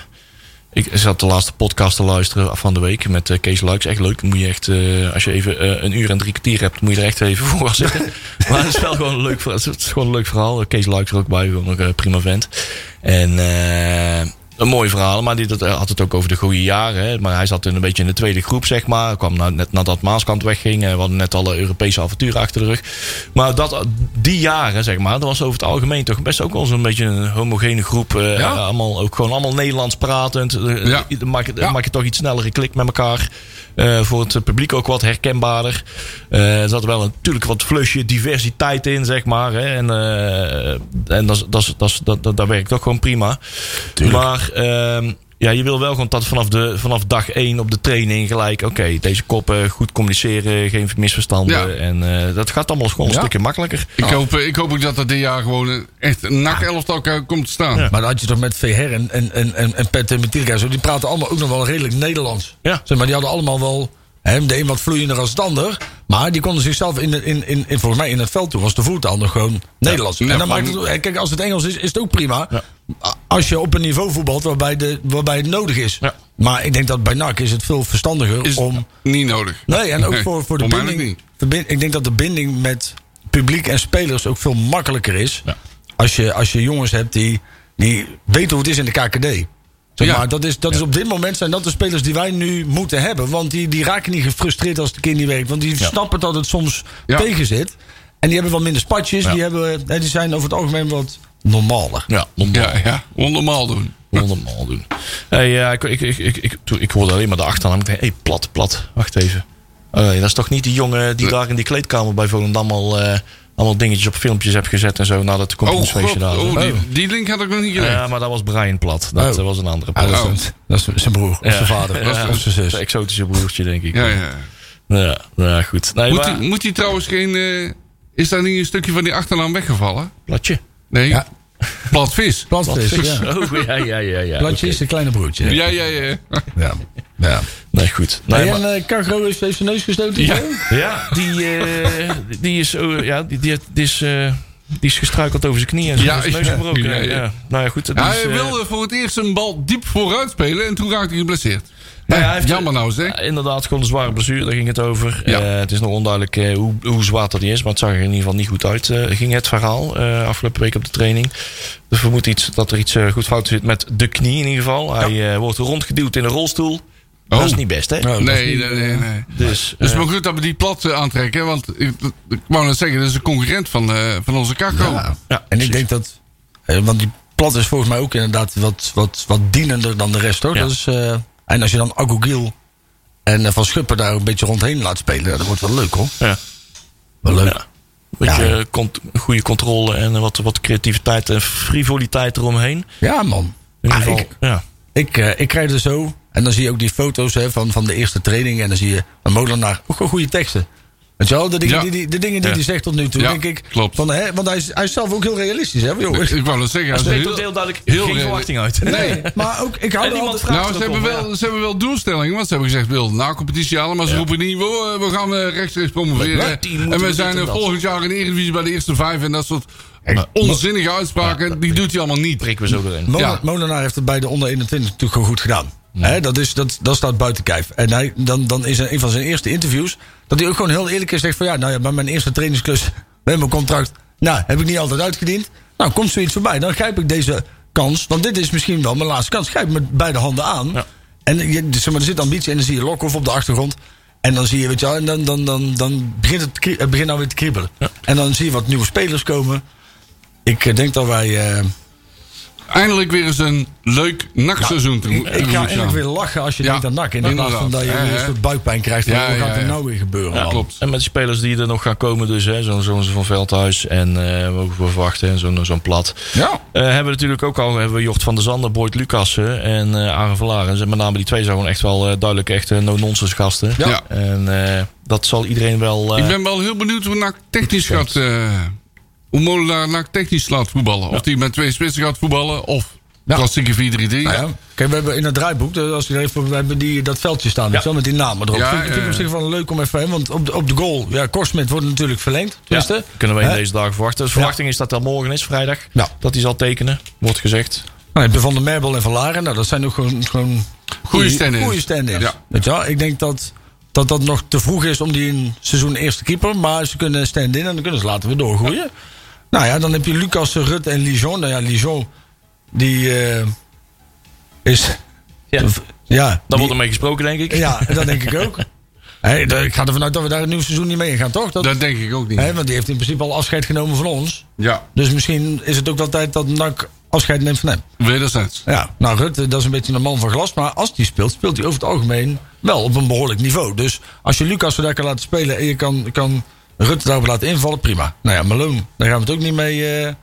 ik zat de laatste podcast te luisteren van de week met eh, Kees Luiks. Echt leuk. Moet je echt, eh, als je even eh, een uur en drie kwartier hebt, moet je er echt even voor gaan zitten. maar het is wel gewoon een leuk, verhaal. het is gewoon een leuk verhaal. Eh, Kees Luiks er ook bij, gewoon nog eh, prima vent. En eh, een mooi verhaal, maar die dat, eh, had het ook over de goede jaren. Hè. Maar hij zat in een beetje in de tweede groep, zeg maar. Hij kwam nou, net nadat Maaskant wegging. eh, We hadden net alle Europese avonturen achter de rug. Maar dat, eh, die jaren, zeg maar, dat was over het algemeen toch best ook wel zo'n beetje een homogene groep. eh, Ja. allemaal, ook gewoon allemaal Nederlands pratend. Eh, Ja. dan maak, je- dan Ja. maak je toch iets snellere klik met elkaar. Eh, voor het publiek ook wat herkenbaarder. Eh, er zat wel een- natuurlijk wat flusje diversiteit in, zeg maar. Hè. En, eh, en dat, is- dat, is- dat, is- dat, dat, dat werkt ook gewoon prima. Maar ehm, ja, je wil wel gewoon dat vanaf, de, vanaf dag één op de training gelijk... oké, deze koppen, goed communiceren, geen misverstanden. Ja. En eh, dat gaat allemaal gewoon een Ja. stukje makkelijker. ik, hoop, eh, ik hoop ook dat dat dit jaar gewoon een- echt een NAC-elftal ka- komt te staan. Ja. Maar dan had je toch met VR en, en, en, en, en Pet en Metilka en zo. Die praten allemaal ook nog wel redelijk Nederlands. Ja. Zeg maar die hadden allemaal wel. Hè, de een wat vloeiender als de ander. Maar die konden zichzelf in, de- in, in, in, volgens mij in het veld toe. Was de voertaal nog gewoon Nederlands. Ja, en dan maar- maakt het, hè, kijk, als het Engels is, is het ook prima. A- Als je op een niveau voetbalt waarbij, de, waarbij het nodig is. Ja. Maar ik denk dat bij NAC is het veel verstandiger Is om. niet nodig. Nee, en ook voor, voor de mij binding, ook niet. verbind- Ik denk dat de binding met publiek en spelers ook veel makkelijker is. Ja. Als, je, als je jongens hebt die, die weten hoe het is in de KKD. Zeg Ja. maar, dat is, dat is op dit moment zijn dat de spelers die wij nu moeten hebben. Want die, die raken niet gefrustreerd als de kind niet werkt. Want die snappen dat het soms Ja. tegen zit. En die hebben wat minder spatjes. Ja. Die, hebben, hè, die zijn over het algemeen wat normaler. Ja, Ja, ja. Onnormaal doen. Honderdmaal doen. Hey, ja, ik, ik, ik, ik, ik, toen- ik hoorde alleen maar de achternaam. Ik denk, hey, plat, plat. Wacht even. Oh, nee, dat is toch niet die jongen die daar in die kleedkamer bij Volendam al eh, allemaal dingetjes op filmpjes hebt gezet en zo nadat de Oh, kampioensfeestje god. daar was? Oh, die, die link had ik nog niet gelegd. Ja, maar dat was Brian Plat. Dat Oh. eh, was een andere Ah, plat. dat, is, dat is zijn broer, of Ja. zijn vader, Ja. of zijn zus. Zijn exotische broertje, denk ik. ja, ja. ja, ja, goed. Nee, Moet, maar- die, moet die trouwens geen... eh, is daar niet een stukje van die achternaam weggevallen? Platje. Nee. Ja. Plat vis. Plantvis, ja. Oh, ja, ja, ja. ja. Plantje is zijn kleine broertje. Ja, ja, ja. Ja. ja. Nee, goed. Nee, maar- en eh Cargo heeft heeft zijn neus gestoten? Ja. zo? Ja, die, eh, die is, eh, ja, die, die, die is, eh, die is gestruikeld over zijn knieën en zo. Ja, Ja, is neus ja, gebroken. ja, Ja, ja. Nou ja, goed. dat Ja, is, hij eh, wilde voor het eerst een bal diep vooruit spelen en toen raakte hij geblesseerd. Nou ja, hij heeft- jammer nou zeg. Ja, inderdaad, gewoon een zware blessure, daar ging het over. Ja. Eh, het is nog onduidelijk eh, hoe, hoe zwaar dat die is, maar het zag er in ieder geval niet goed uit. eh, ging het verhaal eh, afgelopen week op de training. Dus we moeten iets, dat er iets eh, goed fout zit met de knie in ieder geval. Hij eh, wordt rondgeduwd in een rolstoel. Dat is niet best, hè? Nou, dat is Nee, niet- nee, nee. nee. Dus, Oh. Dus eh, maar goed dat we die plat eh, aantrekken, want ik, ik wou net zeggen, dat is een concurrent van, eh, van onze Kakko. Ja. Ja, en precies. ik denk dat. eh, Want die plat is volgens mij ook inderdaad wat, wat, wat dienender dan de rest hoor. Ja. Dat is, eh, en als je dan Agogiel en eh, Van Schuppen daar een beetje rondheen laat spelen, dat wordt wel leuk hoor. ja. Wel leuk. Ja. Een beetje Ja. eh, cont- goede controle en eh, wat, wat creativiteit en frivoliteit eromheen. Ja, man. In Ah, ieder geval, ik, ja. ik, eh, ik krijg er zo. En dan zie je ook die foto's hè, van, van de eerste training. En dan zie je een molenaar. Ook gewoon goede teksten. Weet je wel, de dingen Ja. die, die, de dingen die Ja. hij zegt tot nu toe, Ja, denk ik. klopt. Van, hè, want hij is, hij is zelf ook heel realistisch, hè? Joh. Ik wou net zeggen, hij is Nee, heel- tot heel duidelijk heel geen redelijk. verwachting uit. Nee, maar ook, ik hou En er altijd... niemand vraagt Nou, er ze ook hebben, om, ja. wel, ze hebben wel doelstellingen, want ze hebben gezegd, wil na competitie halen, maar ze roepen niet, we, eh, we gaan eh, rechtstreeks promoveren. Met die moeten en we we dit zijn en eh, dat. volgend jaar in de Eredivisie bij de eerste vijf en dat soort onzinnige uitspraken, Ja, dat die doet hij allemaal niet. Prikken we zo erin. Molen- Ja. Molenaar heeft het bij de onder 21 natuurlijk gewoon goed gedaan. Hè, dat, is, dat, dat staat buiten kijf. En hij, dan, dan is er een van zijn eerste interviews... dat hij ook gewoon heel eerlijk is zegt van... ja, nou ja, bij mijn eerste trainingsklus met mijn contract... nou, heb ik niet altijd uitgediend. Nou, komt zoiets voorbij, dan grijp ik deze kans. Want dit is misschien wel mijn laatste kans. Grijp ik met beide handen aan. Ja. En je, dus, zeg maar, er zit ambitie en dan zie je Lokhoff op de achtergrond... En dan zie je, weet je wel, en dan, dan, dan, dan begint het, kri- het begint nou weer te kriebelen. En dan zie je wat nieuwe spelers komen. Ik eh, denk dat wij... eh, Eindelijk weer eens een leuk nachtseizoen te ik tegemoet ga eigenlijk gaan. weer lachen als je Ja, denkt aan nak. In plaats van inderdaad. dat je Ja, een ja. soort buikpijn krijgt. Ja, wat gaat ja, er ja. nou weer gebeuren? man? Klopt. En met die spelers die er nog gaan komen, dus hè, zo'n zo'n van Veldhuis en eh mogen we verwachten, en zo'n zo'n plat. Ja. Eh, hebben we natuurlijk ook al hebben we Jort van der Zanden, Boyd Lucassen en eh Aaron Verlaren. Met name die twee zijn gewoon echt wel eh, duidelijk echt eh, no-nonsense gasten. Ja. En eh, dat zal iedereen wel. eh, Ik ben wel heel benieuwd hoe NAC technisch gaat... eh, hoe Molenaar NAC technisch laat voetballen. Of die met twee spitsen gaat voetballen, of klassieke 4-3-3. Nou ja. Kijk, we hebben in het draaiboek, eh, als je er even, we hebben die, dat veldje staan, weet je wel, met die namen erop. Ja, vind, ik- vind ik op ja. zich wel leuk om even heen, want op de, op de goal, ja, Korsmit wordt natuurlijk verlengd. ja, tenminste. kunnen we in Hè? deze dagen verwachten. Dus verwachting is dat dat morgen is, vrijdag. Ja. Dat hij zal tekenen, wordt gezegd. Nou, heb je Van der Merbel en Van Laren, nou, dat zijn ook gewoon, gewoon goede- stand-ins. goede stand-ins. Ja. Weet je wel, ik denk dat, dat dat nog te vroeg is om die een seizoen eerste keeper, maar ze kunnen stand-in en dan kunnen ze laten we doorgroeien. Nou ja, dan heb je Lucas Rut en Lijon. Nou ja, Lijon, die eh, is... Ja. Ja, ja Daar die- wordt ermee gesproken, denk ik. Ja, dat denk ik ook. Hey, d- ik ga ervan uit dat we daar het nieuwe seizoen niet mee gaan, toch? Dat, Dat denk ik ook niet. hè, want die heeft in principe al afscheid genomen van ons. Ja, Dus misschien is het ook wel tijd dat NAC afscheid neemt van hem. wederzijds. Ja, nou Rutte, dat is een beetje een man van glas. Maar als die speelt, speelt hij over het algemeen wel op een behoorlijk niveau. Dus als je Lucas er daar kan laten spelen en je kan, kan Rutte daarop laten invallen, prima. Nou ja, Malone, daar gaan we het ook niet mee... eh,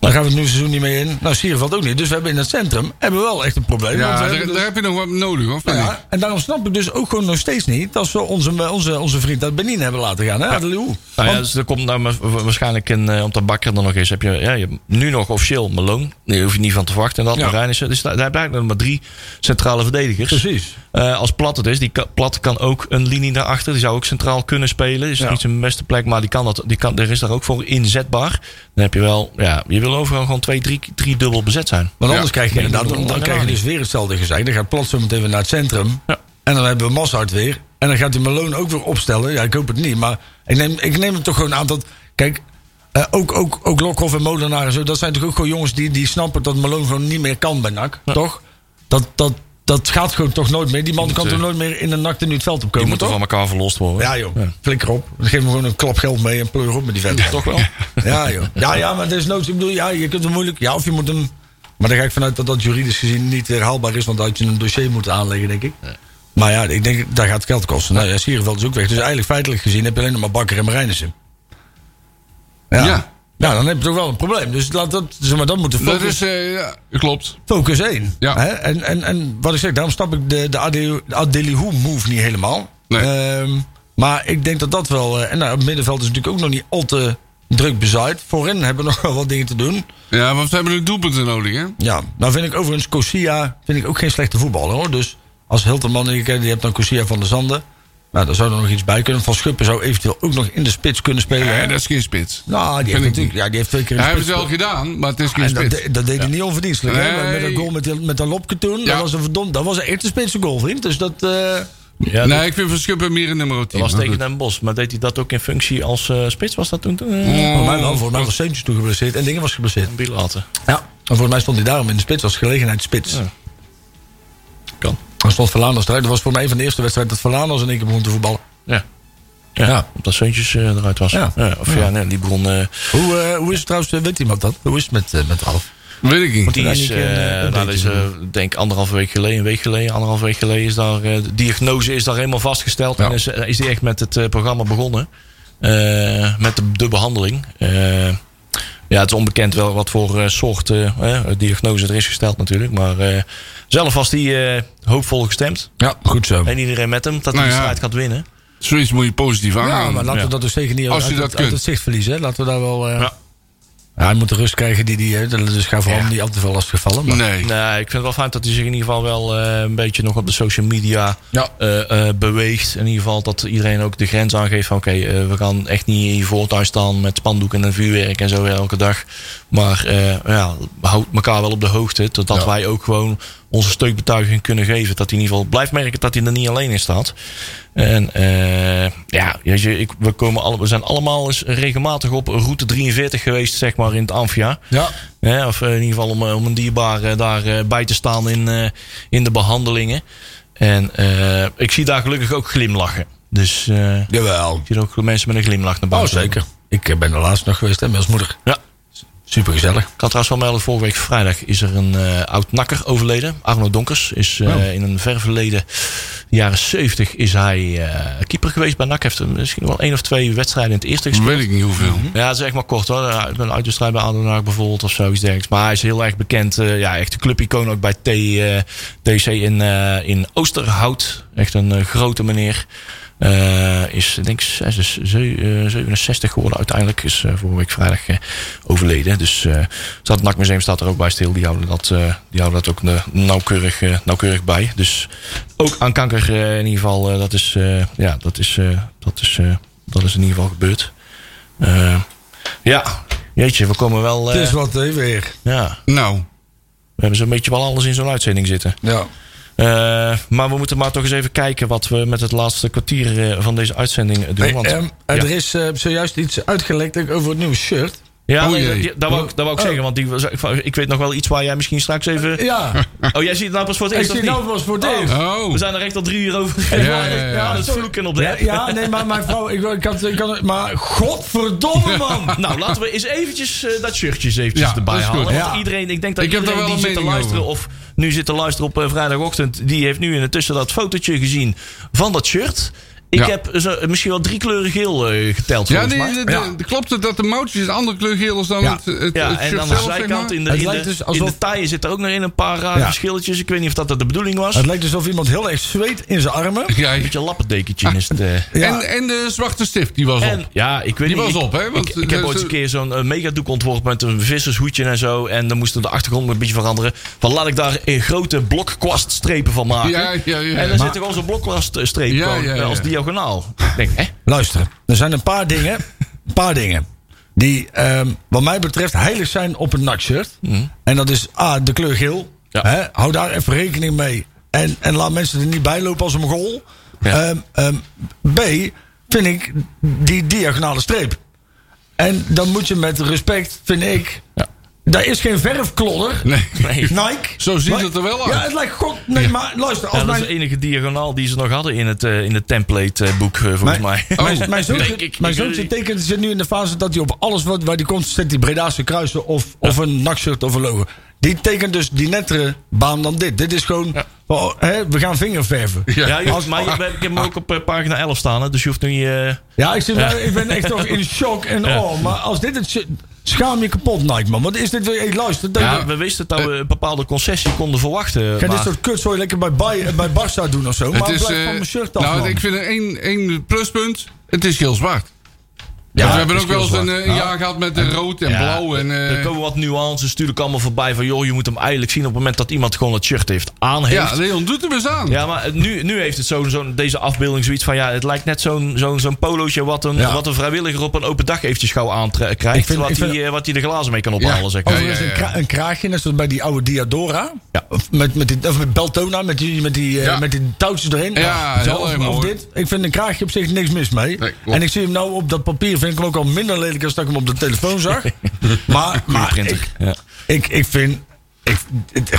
daar gaan we het nieuwe seizoen niet mee in. Nou, Sierveld ook niet. Dus we hebben in het centrum hebben we wel echt een probleem. want we Ja, hebben daar, dus- daar heb je nog wat nodig, hoor. nou vind ik. ja, en daarom snap ik dus ook gewoon nog steeds niet dat ze onze, onze, onze vriend uit Benin hebben laten gaan. Hè? Adelou. Nou ja, Want- dus er komt nou maar- wa- waarschijnlijk een, eh, omdat Bakker er nog is, heb je, ja, je hebt nu nog officieel Malone. Daar hoef je niet van te verwachten. En dat Ja. ja. Marijnissen. Dus daar, daar heb je eigenlijk nog maar drie centrale verdedigers. Precies. Eh, als Plat het is, die ka- Plat kan ook een linie daarachter. Die zou ook centraal kunnen spelen. Is Ja. niet zijn beste plek, maar die kan dat, die kan, er is daar ook voor inzetbaar. Dan heb je wel, ja, je wil overal gewoon twee, drie, drie dubbel bezet zijn. Want Ja. anders krijg je Nee, inderdaad, dat dan, bedoel dan krijg ik je helemaal dus weer hetzelfde gezegd. Dan gaat plots zo meteen weer naar het centrum. Ja. En dan hebben we Massaert weer. En dan gaat die Malone ook weer opstellen. Ja, ik hoop het niet. Maar ik neem, ik neem het toch gewoon aan dat... Kijk, eh, ook, ook, ook Lokhoff en Molenaar en zo. Dat zijn toch ook gewoon jongens die, die snappen dat Malone gewoon niet meer kan bij NAC. Toch? Dat, dat, dat gaat gewoon toch nooit meer. Die man kan moet, toch eh, nooit meer in de NAC nu het veld op Die komen, moeten toch? van elkaar verlost worden. Ja joh, flikker op. Dan geef me gewoon een klap geld mee en pleur op met die vent. Toch wel? Ja joh. Ja, ja, maar desnoods, ik bedoel, ja, je kunt hem moeilijk... Ja, of je moet hem... Maar daar ga ik vanuit dat dat juridisch gezien niet herhaalbaar is... want dan had je een dossier moeten aanleggen, denk ik. Maar ja, ik denk, daar gaat het geld kosten. Nou ja, Sierenveld is ook weg. Dus eigenlijk feitelijk gezien heb je alleen nog maar Bakker en Marijnissen. Ja. Ja. ja. Nou, dan heb je toch wel een probleem. Dus laat dat, zeg maar, dat moet de focus, Dat is, eh, ja, klopt. focus 1. Ja. Hè? En, en, en wat ik zeg, daarom snap ik de, de Adeli- de Adelihu move niet helemaal. Nee. Ehm, maar ik denk dat dat wel... eh, en nou, het middenveld is natuurlijk ook nog niet al te druk bezaaid. Voorin hebben we nog wel wat dingen te doen. Ja, want we hebben een doelpunten nodig, hè? Ja, nou vind ik overigens Cosia vind ik ook geen slechte voetballer hoor. Dus als Hilterman, die je kent, die hebt dan Cosia van der Zanden. Nou, daar zou er nog iets bij kunnen. Van Schuppen zou eventueel ook nog in de spits kunnen spelen. hè? Nee, dat is geen spits. nou, die vind ik heeft, natuurlijk, niet. ja, die heeft twee keer Hij een heeft het spits- wel gedaan, maar het is geen En dat, spits. de- dat deed hij niet onverdienstelijk. hè? Maar Met Nee. een goal met, die- met dat lopje toen. Ja. Dat was een verdomd. Dat was een echte spitse goal, vriend. Dus dat. eh, Ja, nee, ik vind Van Schuppen meer een nummer 10. dat was maar tegen goed. Den Bos. Maar deed hij dat ook in functie als eh, spits? Was dat toen? eh, Voor mij wel. Voor mij was Seuntjes toen geblesseerd. En Dingen was geblesseerd. Een bilater. Ja. En volgens mij stond hij daarom in de spits. Als gelegenheidsspits. Ja. Kan. Dan stond Verlaanders eruit. Dat was voor mij een van de eerste wedstrijden dat Verlaanders in één keer begon te voetballen. Ja. Ja, Ja. omdat Seuntjes eh, eruit was. Ja. of ja, nee, die bron... Hoe, eh, hoe is het trouwens, eh, weet iemand dat? Hoe is het met, eh, met Alf? Weet ik niet. die daar is, niet een, eh, eh, nou, update dat is in eh, denk anderhalve week geleden, een week geleden, anderhalf week geleden is daar eh, de diagnose is daar helemaal vastgesteld Ja. en is, is die echt met het eh, programma begonnen, Eh, met de, de behandeling. Eh, ja, het is onbekend wel wat voor eh, soort eh, eh, diagnose er is gesteld natuurlijk, maar eh, zelf was die eh, hoopvol gestemd Ja, goed zo. en iedereen met hem dat hij Nou de ja. strijd gaat winnen. Zoiets moet je positief Ja, aangaan. maar laten Ja. we dat dus zeker niet Mm, Als uit, je dat uit, uit kunt. het zicht verliezen. hè. Laten we daar wel... eh, Ja. ja, hij moet de rust krijgen die die, hij... Dus ga vooral Ja. niet al te veel lastgevallen. Maar... nee. Nee, ik vind het wel fijn dat hij zich in ieder geval wel eh, een beetje nog op de social media Ja. eh, eh, beweegt. In ieder geval dat iedereen ook de grens aangeeft van oké, eh, we gaan echt niet in je voortuin staan met spandoeken en vuurwerk en zo elke dag. Maar eh ja, houd elkaar wel op de hoogte, totdat Ja. wij ook gewoon onze steunbetuiging kunnen geven. Dat hij in ieder geval blijft merken dat hij er niet alleen in staat. En eh, ja, weet je, ik, we, komen alle, we zijn allemaal eens regelmatig op route 43 geweest, zeg maar, in het Amphia. Ja. Hè, of eh, in ieder geval om, eh, om een dierbare daar eh, bij te staan in, eh, in de behandelingen. En eh, ik zie daar gelukkig ook glimlachen. Dus eh, ik Jawel. zie ook mensen met een glimlach naar Oh, buiten. zeker. Ik eh, ben er laatst nog geweest hè, met ons moeder. Ja. Supergezellig. Ik had trouwens wel melden, vorige week vrijdag is er een eh oud nakker overleden. Arno Donkers is eh, Oh. in een ver verleden, de jaren 70, is hij eh, keeper geweest bij NAC. Heeft hem misschien wel één of twee wedstrijden in het eerste gespeeld. Weet ik niet hoeveel. Ja, dat is echt maar kort hoor. Ja, Een uitwedstrijd bij Adenaar bijvoorbeeld of zoiets dergelijks. Maar hij is heel erg bekend. eh, ja, echt een clubicoon ook bij T, eh, TC in, eh, in Oosterhout. Echt een eh, grote meneer. Eh, is denk ik zes- zes- zeu- eh, 67 geworden uiteindelijk. Is eh, vorige week vrijdag eh, overleden. Dus eh staat het NAC Museum staat er ook bij stil. Die houden dat, eh, die houden dat ook eh, nauwkeurig, eh, nauwkeurig bij. Dus ook aan kanker eh, in ieder geval. eh, dat is, eh, ja, dat is, eh, dat, is, eh, dat is in ieder geval gebeurd. Eh, ja, jeetje, we komen wel. eh, Het is wat hè, weer. ja, Nou, we hebben zo'n beetje wel alles in zo'n uitzending zitten. Ja. Eh, maar we moeten maar toch eens even kijken wat we met het laatste kwartier eh, van deze uitzending doen. Hey, want, ehm, ja. Er is eh, zojuist iets uitgelekt ook over het nieuwe shirt. ja, oh nee, jee. die- dat wou ik, dat wou ik Oh. zeggen, want die, was- ik- ik weet nog wel iets waar jij misschien straks even. Ja, Oh, jij ziet het nou pas voor het ik eerst. of zie niet? nou was voor Dave. We oh. zijn er echt al drie uur over. ja, ja, ja. dat is vloeken op de Ja, app. ja, nee, maar mijn vrouw, ik, ik, had, ik had- Maar godverdomme, man! Nou, laten we eens eventjes eh, dat shirtje eens eventjes Ja, erbij dat is goed. halen. Want Ja. iedereen, ik denk dat Ik heb daar iedereen wel die een zit te mening luisteren of nu zit te luisteren op eh, vrijdagochtend, die heeft nu intussen dat fotootje gezien van dat shirt. Ik Ja. heb zo, eh, misschien wel drie kleuren geel eh, geteld Ja, volgens nee, mij. de, de- Ja. de- klopt het dat de moutjes een andere kleur geel is dan Ja. het, het, Ja, het en shirt aan de zelf, zeg zijkant maar? in de, Het in de, lijkt dus alsof- in de taaien zit er ook nog in een paar rare Ja. schilletjes. Ik weet niet of dat dat de bedoeling was. Het Een lijkt alsof iemand heel erg zweet in zijn armen. Ja, beetje een lappendekentje is het. eh. Ja. En, en de zwarte stift, die was En, op. ja, ik weet Die niet. was ik- op, hè? Want ik, ik heb de- ooit een keer zo'n eh, megadoek ontworpen met een vissershoedje en zo. En dan moesten de achtergrond een beetje veranderen. Van laat ik daar een grote blokkwaststrepen van maken. Ja, ja, ja. En dan Maar- zit er al zo'n blokkwaststreep Ja, gewoon, ja, eh, ja. als diagonaal. Ik denk, hè? Luister, er zijn een paar dingen. Een paar dingen. Die, ehm, wat mij betreft, heilig zijn op een natshirt. En dat is A, de kleur geel. Ja. Hè? Hou daar even rekening mee. En, en laat mensen er niet bij lopen als een goal. Ja. B, vind ik die diagonale streep. En dan moet je met respect, vind ik. Ja. Daar is geen verfklodder. Nee. Nee. Nike. Zo ziet Maar- het er wel uit. Ja, het lijkt god. Nee, maar luister. Als Ja, dat is mijn, de enige diagonaal die ze nog hadden in het, eh, in het template-boek, volgens mij. Oh, Mijn, mijn Denk zoontje, ik. mijn Ik weet zoontje niet. tekent zit nu in de fase dat hij op alles wat waar die komt, zet die Bredaanse kruisen of, of een nakshirt of een logo. Die tekent dus die nettere baan dan dit. Dit is gewoon, oh, hè, we gaan vingerverven. Ja, joh, maar je- ik heb hem ook op eh, pagina 11 staan, hè, dus je hoeft nu niet... eh, Ja, ik, zit, wel- ik ben echt toch in shock en Ja. oh, maar als dit het shit- schaam je kapot, Nike man. Wat is dit weer? Ik luister, dat ja, we wisten dat we een bepaalde concessie konden verwachten. Ga dit maar- soort kutzooi lekker bij, Bay- bij Barca doen of zo. Maar Het blijf is, van nou, eh, mijn shirt af, nou, man. ik vind er één, één pluspunt. Het is heel zwart. Ja, we het hebben is ook wel eens heel een zwart. eh, jaar gehad met eh, rood en Ja, blauw. En, eh, er komen wat nuances natuurlijk allemaal voorbij van... joh, je moet hem eigenlijk zien op het moment dat iemand gewoon het shirt heeft aan heeft. ja, Leon doet hem eens aan. Ja, maar nu, nu heeft het zo'n zo'n- deze afbeelding zoiets van... ja, het lijkt net zo'n zo'n zo'n polootje wat een, Ja. wat een vrijwilliger op een open dag eventjes gauw aankrijgt... Ik vind- ik wat vind- Oh, hij wat die de glazen mee kan ophalen, Ja. zeg maar. Ja, ja, Overigens ja. een, kra- een kraagje, net zoals bij die oude Diadora. Ja. Of met, met, die, of met Beltona, met die, met die, eh, Ja. met die touwtjes erin. Ja, heel of, erg of mooi. dit. Ik vind een kraagje op zich niks mis mee. Nee, klopt. en ik zie hem nou op dat papier, vind ik hem ook al minder lelijk als dat ik hem op de telefoon zag. maar maar printer. ik, Ja. ik, ik vind... Ik, het,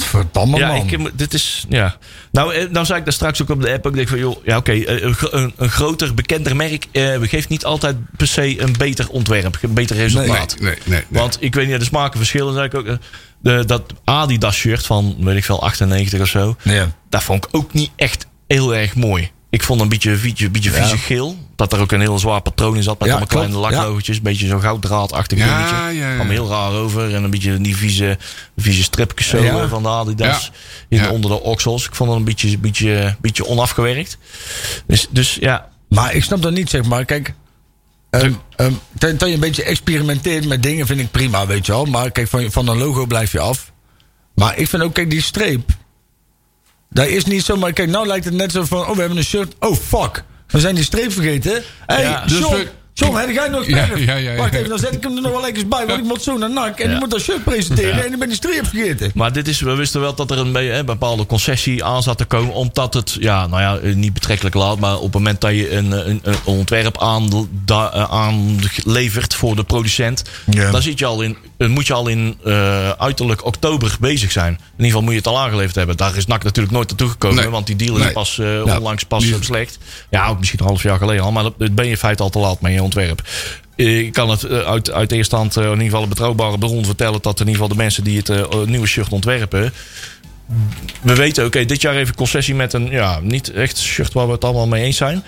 gadverdamme Ja, Oh, man. ik, heb- dit is. Ja. Nou, eh, nou zei ik daar straks ook op de app. Ik denk van, joh, ja, oké. eh, een, gro- een, een groter, bekender merk eh, geeft niet altijd per se een beter ontwerp, een beter Nee, resultaat. nee, nee. nee. Want ik weet niet, de smaken verschillen. Zei ik ook, eh, de, dat Adidas shirt van, weet ik veel, 98 of zo. Ja. Dat vond ik ook niet echt heel erg mooi. Ik vond een beetje, beetje, beetje Ja. vieze geel. Dat er ook een heel zwaar patroon in zat. Met Ja, allemaal kleine klopt, ja. laklogotjes. Een beetje zo'n gouddraadachtig Ja, dingetje. ja, ja. Kwam heel raar over. En een beetje die vieze, vieze stripjes zo Ja. eh, van de Adidas. In, Ja. Onder de oksels. Ik vond het een beetje, beetje, beetje onafgewerkt. Dus, dus ja, Maar ik snap dat niet, zeg maar. Kijk, ehm, ehm, dat dat je een beetje experimenteert met dingen vind ik prima, weet je wel. Maar kijk, van, van een logo blijf je af. Maar ik vind ook, kijk, die streep. Daar is niet zomaar... Kijk, nou lijkt het net zo van... Oh, we hebben een shirt. Oh, fuck. We zijn die streep vergeten. Hé, hey, Ja, dus John. we- John, heb jij nog Ja, verf? ja, ja, ja. Wacht even, dan zet ik hem er nog wel eens bij. Want ik moet zo naar NAC. En Ja. ik moet dat shirt presenteren. En ik ben die streep vergeten. Maar dit is, we wisten wel dat er een be- hè, bepaalde concessie aan zat te komen. Omdat het, ja, nou ja, eh, niet betrekkelijk laat. Maar op het moment dat je een, eh, een, een ontwerp aan- da- eh, aanlevert voor de producent. Ja. Dan zit je al in, dan moet je al in eh, uiterlijk oktober bezig zijn. In ieder geval moet je het al aangeleverd hebben. Daar is NAC natuurlijk nooit naartoe gekomen. Nee. Want die deal is Nee. pas eh, Ja. onlangs pas Die- eh, slecht. Ja, ook misschien een half jaar geleden al. Maar dat, dat ben je in feite al te laat met je ontwerp. Ik kan het eh, uit, uit eerste hand, eh, in ieder geval een betrouwbare bron vertellen... dat in ieder geval de mensen die het eh, nieuwe shirt ontwerpen... We weten, oké, dit jaar even concessie met een... ja, niet echt shirt waar we het allemaal mee eens zijn.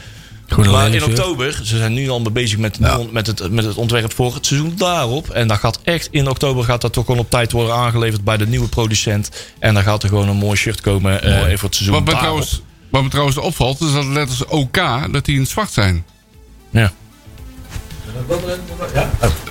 maar in oktober, ze zijn nu al mee bezig met, met, het, met het ontwerp voor het seizoen daarop. En dat gaat echt in oktober gaat dat toch gewoon op tijd worden aangeleverd bij de nieuwe producent. En dan gaat er gewoon een mooi shirt komen eh, voor het seizoen Wat me, daarop. trouwens, wat me trouwens opvalt, is dat de letters OK, dat die in het zwart zijn. Ja.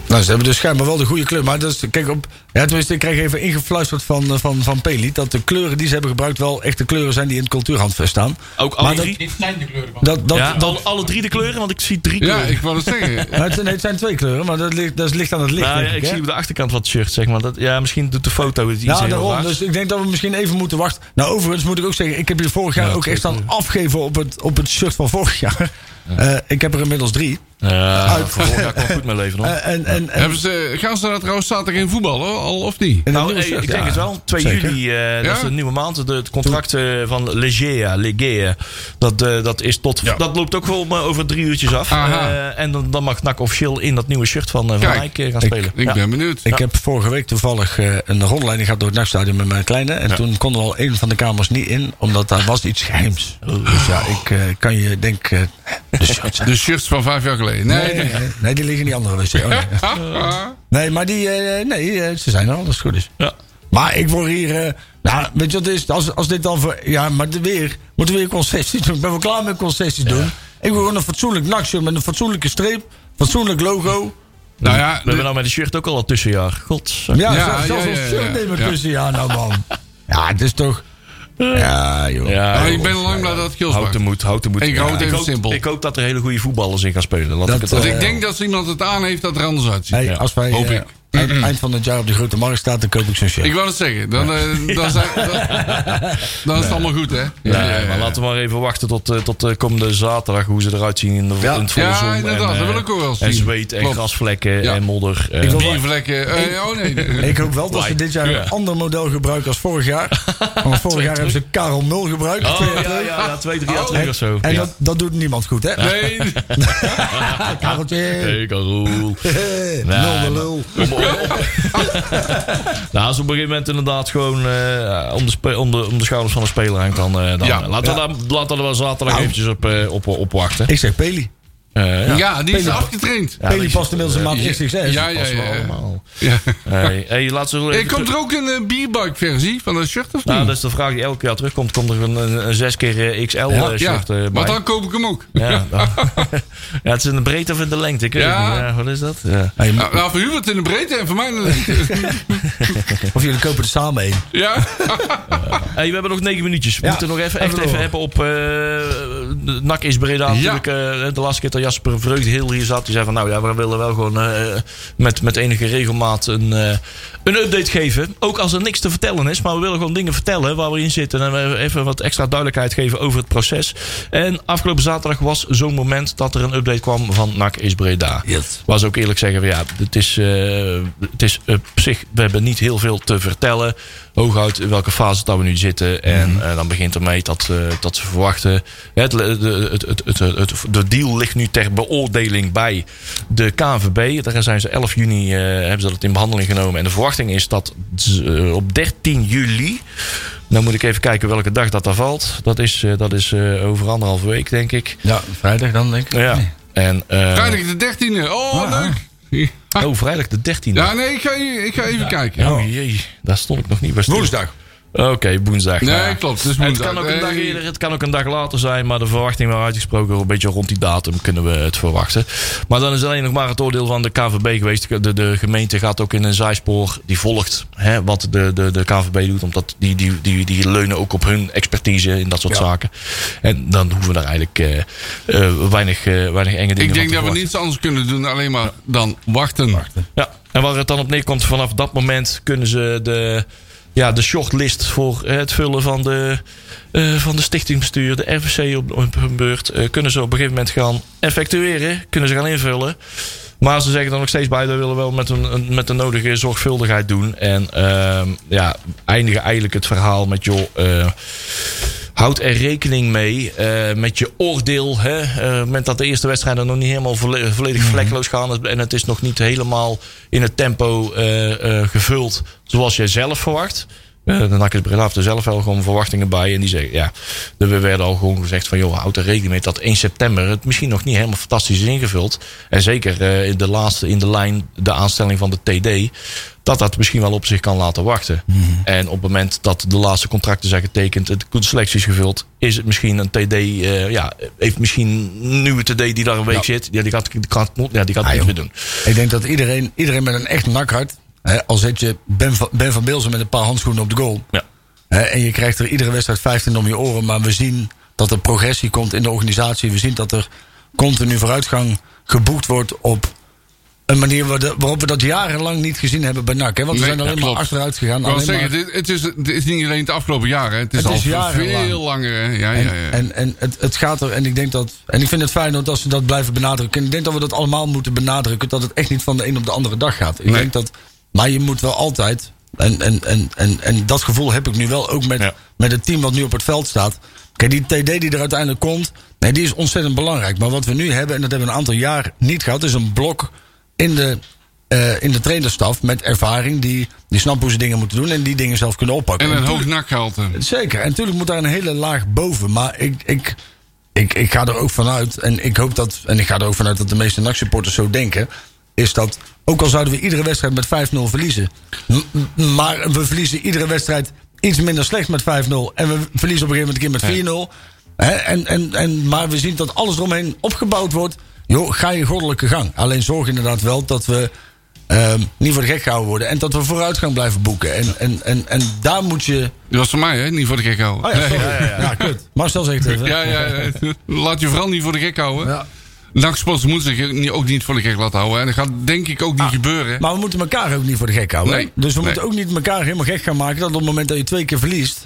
Nou, ze hebben dus schijnbaar wel de goede kleur. Maar dat is, kijk op. Ja, tenminste, ik kreeg even ingefluisterd van, eh, van, van Peliet. Dat de kleuren die ze hebben gebruikt wel echt de kleuren zijn die in het cultuurhandvest staan. Ook alle Maar dat- drie? Dit zijn de kleuren van. Dat, dat, ja, dat, alle, alle drie de kleuren, want ik zie drie Ja, kleuren. ik wou het zeggen. nou, het, zijn, nee, het zijn twee kleuren, maar dat ligt, dat is licht aan het licht. Nou, ja, denk ik hè? zie op de achterkant wat shirt, zeg maar. Dat, ja, misschien doet de foto het iets Ja, heel daarom. raars. Dus ik denk dat we misschien even moeten wachten. Nou, overigens moet ik ook zeggen, ik heb hier vorig jaar ook echt staan afgeven op het, op het shirt van vorig jaar. Eh, ik heb er inmiddels drie. Ja, Uit. voor vorig jaar kwam goed mijn leven nog. Eh, en, en, en, Hebben ze, gaan ze daar trouwens zaterdag in voetballen, al of niet? en een Nou, nieuwe eh, shirt, ik denk ja. het wel. 2 Zeker. juli, eh, dat Ja? is de nieuwe maand. De, het contract eh, van Legea, Legea dat, eh, dat, is tot, Ja. dat loopt ook wel maar over drie uurtjes af. Aha. Eh, en dan, dan mag NAC officieel in dat nieuwe shirt van, eh, van Kijk, Rijk eh, gaan spelen. Ik Ja. ben benieuwd. Ik heb vorige week toevallig eh, een rondleiding gehad door het nachtstadion met mijn kleine. En toen kon er al een van de kamers niet in, omdat daar was iets geheims. Dus ja, ik eh, kan je denk... eh, de shirt zijn. De shirts van vijf jaar geleden. Nee, Nee, nee. nee, nee, nee, die liggen in die andere wc. Oh, nee. nee, maar die... eh, nee, eh, ze zijn er al, als het goed is. Ja. Maar ik word hier... eh, nou, weet je wat het is? Als, als dit dan voor... Ja, maar de- weer... Moeten we weer concessies doen? Ik ben wel klaar met concessies doen. Ik wil gewoon een fatsoenlijk nachtje met een fatsoenlijke streep. Fatsoenlijk logo. Nou ja, We hebben de- nou met de shirt ook al een tussenjaar. God. Ja, Ja, zelfs- zelfs ja, een ja, shirt ja, nemen ja. tussen. Ja, nou man. Ja, het is toch... Ja, joh. nou, ik ben lang blij dat het Gils Houd maakt. de moed, houd de moed. Ik hou het even hoop, simpel. Ik hoop dat er hele goede voetballers in gaan spelen. Laat Dat, ik het Want wel- eh, ik denk dat als iemand het aan heeft, dat er anders uitziet. Hey, als wij hoop eh, ik. eind, eind van het jaar op de grote markt staan, dan koop ik zo'n shirt. Ik wou het zeggen. Dan, eh, dan, zijn- dan, dan is het allemaal goed, hè? Nee, maar laten we maar even wachten tot, eh, tot eh, komende zaterdag. Hoe ze eruit zien in, de, in het volle Ja, zon. inderdaad, en, dat wil eh, ik ook wel eens En zien. zweet en Klopt. grasvlekken Ja. en modder. eh, wil- Biervlekken. eh, oh nee. Ik hoop wel dat ze dit jaar een ander model gebruiken als vorig jaar. Want vorig jaar hebben ze Karel 0 gebruikt. Oh ja, ja, ja, twee, Oh. drie jaar terug En, of zo. en ja. dat, dat doet niemand goed, hè? Nee, eh, Kareltje. Hey, Karoel. Nul de lul. Nou, als op een gegeven moment inderdaad gewoon eh, om, de spe- om, de, om de schouders van de speler hangt, dan, eh, dan Ja. Nou. eh, laten, we daar, laten we daar zaterdag eventjes op, eh, op, op wachten. Ik zeg Peli. Eh, Ja, ja. die is afgetraind. Ja, Peli die- past inmiddels een maand ja, in succes. ja, Passen we ja, ja. allemaal. Ja. Hey, hey, laten we Eh, even komt er ook een eh, bierbike versie van dat shirt of niet? Nou, dat is de vraag die elke jaar terugkomt. Komt er een, een, een 6 keer eh, XL ja, eh, shirt eh, ja. bij? maar dan koop ik hem ook. Ja, dan- ja, het is in de breedte of in de lengte. Ik weet Ja. het niet. Ja, wat is dat? Ja. Hey, Nou, nou, voor Hubert in de breedte en voor mij in de lengte. of jullie kopen er samen een. ja. Hey, we hebben nog negen minuutjes. We Ja, moeten nog even, even echt door. even hebben op... eh NAC is Breda natuurlijk. eh, de laatste keer dat Jasper Vreugd heel hier zat. Die zei van, nou ja, we willen wel gewoon eh, met, met enige regelmaat een, eh, een update geven. Ook als er niks te vertellen is. Maar we willen gewoon dingen vertellen waar we in zitten. En we even wat extra duidelijkheid geven over het proces. En afgelopen zaterdag was zo'n moment dat er een update kwam van NAC is Breda. Yes. Waar ze ook eerlijk zeggen, van, ja, het is, eh, het is op zich, we hebben niet heel veel te vertellen. Hooguit in welke fase dat we nu zitten. En Mhm. eh, dan begint ermee dat, eh, dat ze verwachten. Het, de, het, het, het, het, het- de deal ligt nu ter beoordeling bij de KNVB. Daar zijn ze 11 juni eh, hebben ze dat in behandeling genomen. En de verwachting is dat ze, eh, op 13 juli. Dan moet ik even kijken welke dag dat daar valt. Dat is, eh, dat is eh, over anderhalve week, denk ik. Ja, vrijdag dan denk ik. Ja. En, eh, Vrijdag de 13e. Oh, Ah. leuk. Oh, vrijdag de 13e. Ja, nee, ik ga, e- ik ga even kijken. Oh jee, daar stond ik nog niet bij stil. Woensdag. Oké, woensdag. nou ja. Nee, klopt. Dus Het kan ook een dag eerder, het kan ook een dag later zijn, maar de verwachting waar uitgesproken, een beetje rond die datum kunnen we het verwachten. Maar dan is alleen nog maar het oordeel van de KVB geweest. De, de gemeente gaat ook in een zijspoor, die volgt hè, wat de, de, de KVB doet, omdat die, die, die, die leunen ook op hun expertise in dat soort zaken. En dan hoeven we daar eigenlijk eh, eh, weinig, eh, weinig enge dingen van te Ik denk dat we verwachten. niets anders kunnen doen, alleen maar dan wachten. Ja, en waar het dan op neerkomt, vanaf dat moment kunnen ze de, ja, de shortlist voor eh, het vullen van de, eh, van de stichtingbestuur, de RVC op, op hun beurt, eh, kunnen ze op een gegeven moment gaan effectueren, kunnen ze gaan invullen. Maar ze zeggen dan nog steeds bij, dat willen we wel met, een, een- met de nodige zorgvuldigheid doen. En ehm, ja, eindigen eigenlijk het verhaal met, joh, eh, houd er rekening mee eh, met je oordeel. Hè? Eh, op het moment dat de eerste wedstrijden nog niet helemaal volle- volledig vlekloos gaan. En het is nog niet helemaal in het tempo eh, eh, gevuld zoals jij zelf verwacht. Eh dan had ik Breda heeft er zelf wel gewoon verwachtingen bij. En die zeggen, ja, er werd al gewoon gezegd van... joh, houd er rekening mee dat 1 september het misschien nog niet helemaal fantastisch is ingevuld. En zeker eh, in de laatste in de lijn, de aanstelling van de TD... dat dat misschien wel op zich kan laten wachten. Mhm. En op het moment dat de laatste contracten zijn getekend... het- de selectie is gevuld, is het misschien een TD... eh, ja, heeft misschien een nieuwe TD die daar een week zit... Ja, die gaat, die gaat, ja, Ah, die gaat het niet meer doen. Ik denk dat iedereen, iedereen met een echt nakhart... Hè, al zet je ben van, ben van Beelzen met een paar handschoenen op de goal... Ja. Hè, en je krijgt er iedere wedstrijd 15 om je oren. Maar we zien dat er progressie komt in de organisatie. We zien dat er continu vooruitgang geboekt wordt op een manier waar de- waarop we dat jarenlang niet gezien hebben bij NAC. Hè? Want we Nee, zijn alleen ja, maar klopt. achteruit gegaan. Ik wou Alleen zeggen, maar- dit, het, is, het is niet alleen het afgelopen jaar, hè. het is Het al is jarenlang. veel langer. Hè. Ja, en ja, ja. en, en het, het gaat er, en ik denk dat. En ik vind het fijn dat als ze dat blijven benadrukken. En ik denk dat we dat allemaal moeten benadrukken. Dat het echt niet van de een op de andere dag gaat. Ik Nee. denk dat. Maar je moet wel altijd. En, en, en, en, en dat gevoel heb ik nu wel ook met, Ja. met het team wat nu op het veld staat. Kijk, die TD die er uiteindelijk komt. Nee, die is ontzettend belangrijk. Maar wat we nu hebben, en dat hebben we een aantal jaar niet gehad, is een blok in de. eh, in de trainerstaf met ervaring die, die snappen hoe ze dingen moeten doen en die dingen zelf kunnen oppakken. en En een toen- hoog nakgehalte. Zeker. En natuurlijk moet daar een hele laag boven. Maar ik, ik, ik, ik ga er ook vanuit. En ik hoop dat. En ik ga er ook vanuit dat de meeste NAC-supporters zo denken. Is dat. Ook al zouden we iedere wedstrijd met 5-0 verliezen. m- m- Maar we verliezen iedere wedstrijd iets minder slecht met 5-0. En we verliezen op een gegeven moment een keer met 4-0. Hè, En, en, en, maar we zien dat alles eromheen opgebouwd wordt. Joh, ga je goddelijke gang. Alleen zorg inderdaad wel dat we ehm, niet voor de gek gehouden worden. En dat we vooruitgang blijven boeken. En, en, en, en daar moet je Dat was voor mij, hè? niet voor de gek houden. Oh ja, Nee. sorry. ja, kut. Marcel zegt het even. ja, ja, ja. Laat je vooral niet voor de gek houden. Ja. Nachtsports moet zich ook niet- ook niet voor de gek laten houden. En dat gaat denk ik ook niet gebeuren. Ah. Maar we moeten elkaar ook niet voor de gek houden. hè? Nee, Dus we nee. moeten ook niet elkaar helemaal gek gaan maken... dat op het moment dat je twee keer verliest...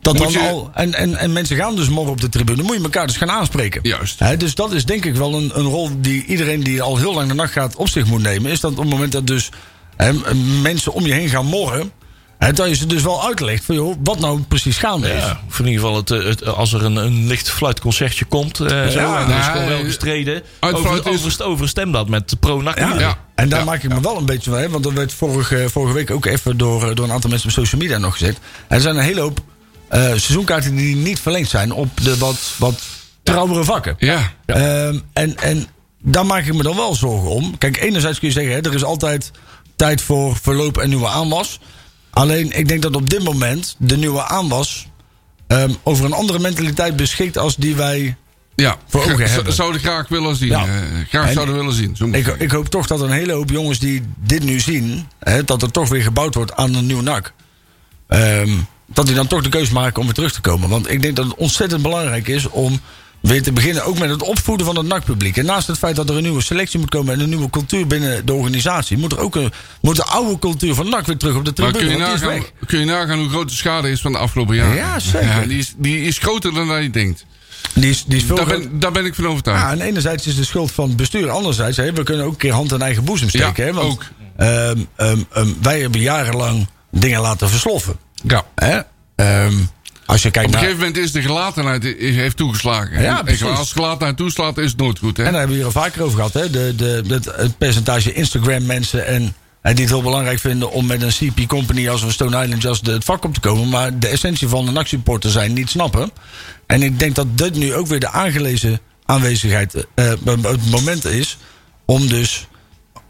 Dat dan Moet je- al, en, en, en mensen gaan dus morgen op de tribune. moet je elkaar dus gaan aanspreken. Juist. Hè, dus dat is denk ik wel een, een rol die iedereen die al heel lang de nacht gaat op zich moet nemen. Is dat op het moment dat dus hè, m- mensen om je heen gaan morren. Hè, dat je ze dus wel uitlegt van joh, wat nou precies gaande is. Ja, of in ieder geval, het, eh, het, als er een, een licht fluitconcertje komt, eh, zo, en er is ja, gewoon wel ja. gestreden. Uitfluit Over, is- over, overstem dat met pro-NAC. Ja. Ja. En daar Ja. maak ik me wel een beetje van. hè, Want dat werd vorige, vorige week ook even door, eh, door een aantal mensen op social media nog gezegd. Er zijn een hele hoop eh, seizoenkaarten die niet verlengd zijn op de wat, wat trouwere vakken. Ja. Ehm, en, en daar maak ik me dan wel zorgen om. Kijk, enerzijds kun je zeggen, hè, er is altijd tijd voor verloop en nieuwe aanwas. Alleen, ik denk dat op dit moment de nieuwe aanwas ehm, over een andere mentaliteit beschikt als die wij Ja, Voor ogen Gra- hebben. zouden graag willen zien. Ja. eh, graag En- zouden willen zien. Zo moet Ik, het ik hoop toch dat een hele hoop jongens die dit nu zien, hè, dat er toch weer gebouwd wordt aan een nieuw NAC. Ehm, dat die dan toch de keuze maken om weer terug te komen. Want ik denk dat het ontzettend belangrijk is om weer te beginnen, ook met het opvoeden van het NAC-publiek. En naast het feit dat er een nieuwe selectie moet komen en een nieuwe cultuur binnen de organisatie, moet er ook een, moet de oude cultuur van NAC weer terug op de Maar tribune. kun je, want die is nagaan, weg. kun je nagaan hoe groot de schade is van de afgelopen jaren? Ja, zeker. die, is, die is groter dan dat je denkt. Die is, die is veel Daar groter. ben, daar ben ik van overtuigd. Ja, en enerzijds is de schuld van het bestuur. Anderzijds, hè, we kunnen ook een keer hand in eigen boezem steken. Ja, hè, want, ook. ehm, ehm, ehm, wij hebben jarenlang dingen laten versloffen. Ja. Hè? Ehm, als je kijkt Op een naar... gegeven moment is de gelatenheid i- heeft toegeslagen. Ja, En- en precies. als gelatenheid toeslaat, is het nooit goed. Hè? En daar hebben we hier al vaker over gehad. Hè? De, de, het, het percentage Instagram-mensen en, en die het heel belangrijk vinden... om met een CP-company als een Stone Island Just het vak op te komen. Maar de essentie van een actiesupporter zijn niet snappen. En ik denk dat dit nu ook weer de aangelezen aanwezigheid... eh, eh, het moment is om dus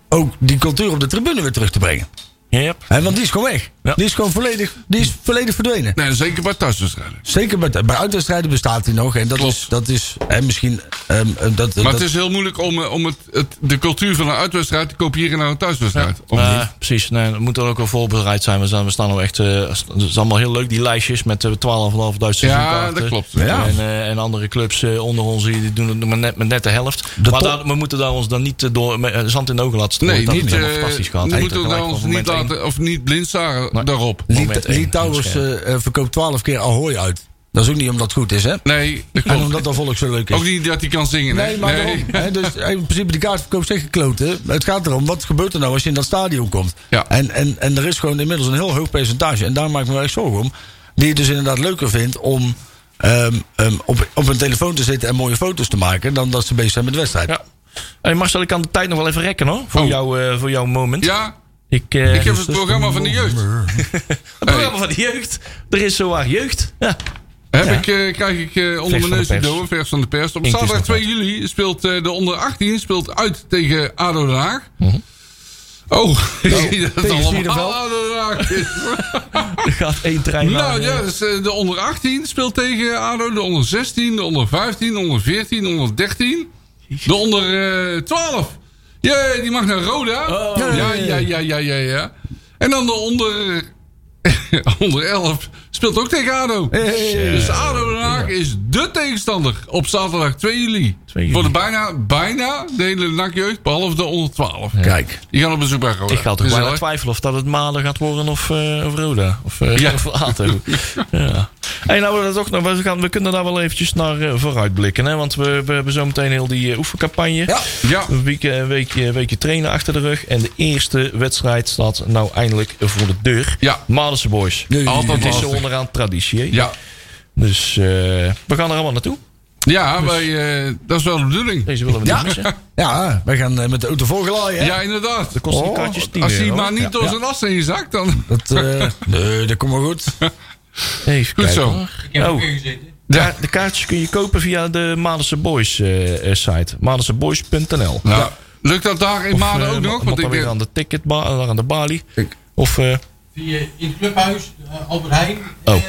ook die cultuur op de tribune weer terug te brengen. Yep. Hè, want die is gewoon weg. Ja. Die is gewoon volledig, die is volledig verdwenen. Nee, zeker bij thuiswedstrijden. Zeker bij, bij uitwedstrijden bestaat die nog. En dat Klopt. is, dat is hè, misschien. ehm, eh, dat, dat, Maar het is heel moeilijk om, eh, om het, het, de cultuur van een uitwedstrijd te kopiëren naar een thuiswedstrijd. Of Eh, niet? precies, nee, dat moet er ook wel voorbereid zijn. We staan, we staan al echt. eh, st- het is allemaal heel leuk, die lijstjes met eh, 12.500 Duitse Ja, seizoenkaarten. dat klopt. Ja. En, eh, en andere clubs eh, onder ons die die doen het maar net, met net de helft. De maar top- daar- we moeten daar ons dan niet eh, door met, eh, zand in de ogen laten strooien. Nee, dat niet, hebben we eh, fantastisch gehad. we Hey, moeten tegelijk daar ons op niet, moment één. laten, of niet blind staren Nee. daarop. Lit- moment één, Litouwers eh, eh, verkoopt 12 keer Ahoy uit. Dat is ook niet omdat het goed is, hè? Nee, dat En klopt. omdat dat volk zo leuk is. Ook niet dat hij kan zingen. hè? Nee, maar daarom, hè, dus eh, in principe die kaartverkoop zegt kloten. Het gaat erom, wat gebeurt er nou als je in dat stadion komt? Ja. En, en, en er is gewoon inmiddels een heel hoog percentage. En daar maak ik me wel echt zorgen om. Die het dus inderdaad leuker vindt om ehm, ehm, op, op hun telefoon te zitten en mooie foto's te maken. Dan dat ze bezig zijn met de wedstrijd. Ja. Hey Marcel, ik kan de tijd nog wel even rekken hoor. Voor, Oh. jou, eh, voor jouw moment. Ja, Ik, eh, ik heb het programma van de jeugd. het programma van de jeugd. Er is zowaar jeugd. Ja. Heb ik, eh, krijg ik eh, onder Vers van mijn neus de de pers. doorn, vers van de pers. Op Inkt is zaterdag nog 2 juli speelt eh, de onder 18 speelt uit tegen ADO Den Haag. Mhm. Oh, ik zie dat het Nou, tegen Vierdenveld. allemaal ADO Den Haag is. Er gaat één trein naar, nou eh, ja, dus, eh, de onder 18 speelt tegen ADO. De onder 16, de onder 15, de onder 14, de onder 13. De onder eh 12. Jee, die mag naar Roda. Oh. Ja, ja, ja, ja, ja, ja. En dan de onder, onder 11 speelt ook tegen ADO. Dus ADO Den Haag is de tegenstander op zaterdag 2 juli. 2 juli. Voor de bijna, bijna de hele NAC-jeugd, behalve de onder 12. Kijk. Die gaan op bezoek bij Roda. Ik ga toch bijna Gezellig. twijfelen of dat het Malen gaat worden of, eh, of Roda. Of, eh Ja. of Ato. ja. Hey, nou, dat ook nog, we, gaan, we kunnen daar wel eventjes naar eh, vooruitblikken. Hè? Want we, we hebben zometeen heel die eh, oefencampagne. Ja. Ja. Een week, eh, een weekje, een weekje trainen achter de rug. En de eerste wedstrijd staat nou eindelijk voor de deur. Ja. Malense Boys. Nee, Altijd Het is zo lastig. onderaan traditie. hè? Ja, Dus eh, we gaan er allemaal naartoe. ja wij, eh, dat is wel de bedoeling. Deze willen we niet missen. Ja, wij gaan eh, met de auto volgeladen. hè? Ja, inderdaad. Dan kosten die Oh, kaartjes 10 Als hij euro. maar niet door zijn as heen zakt, dan... Dat, eh, nee, dat komt wel goed. Even Goed kijken. zo. Oh. Ja, de kaartjes kun je kopen via de Malense Boys eh, eh, site. Malensseboys.nl Nou, Lukt dat daar in eh, Maden ook nog? Want ik weer denk... aan de ticketbar, eh, aan de balie. Of eh, Die, eh, in het clubhuis, eh, Albert Heijn. Oh. En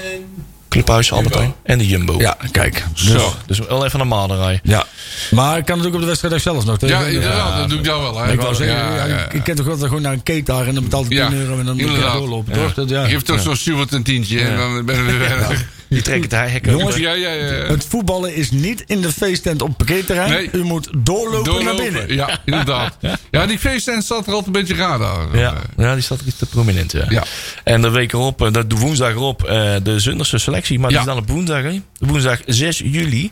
Clubhuis, Albert Heijn en de Jumbo. Ja, kijk. Zo. Dus wel even naar Maden rijden. Ja. Maar ik kan het ook op de wedstrijd zelf nog. Ja, tegen- eh, inderdaad, dat doe ik dan wel. hè. Ik wou zeggen, Ja, ja, ja, ja. ik ken toch wel dat gewoon naar een keet daar en dan betaalt hij Ja, 10 euro en dan moet je inderdaad. doorlopen. Ja. Toch? Dat, ja. Geef toch zo'n Stuart een tientje en dan ben we weer verder. Die trekken het hek Jongens, Ja, ja, ja. Het voetballen is niet in de feesttent op parkeerterrein. Nee. U moet doorlopen, naar Doorlopen. binnen. Ja, inderdaad. Ja, die feesttent staat er altijd een beetje raar daar. Eh, Ja, ja, die staat iets te prominent. Ja. Ja. En de week erop, eh, de de woensdag erop, eh, de Zunderse selectie. Maar die Ja. is dan op woensdag, hè? Woensdag 6 juli.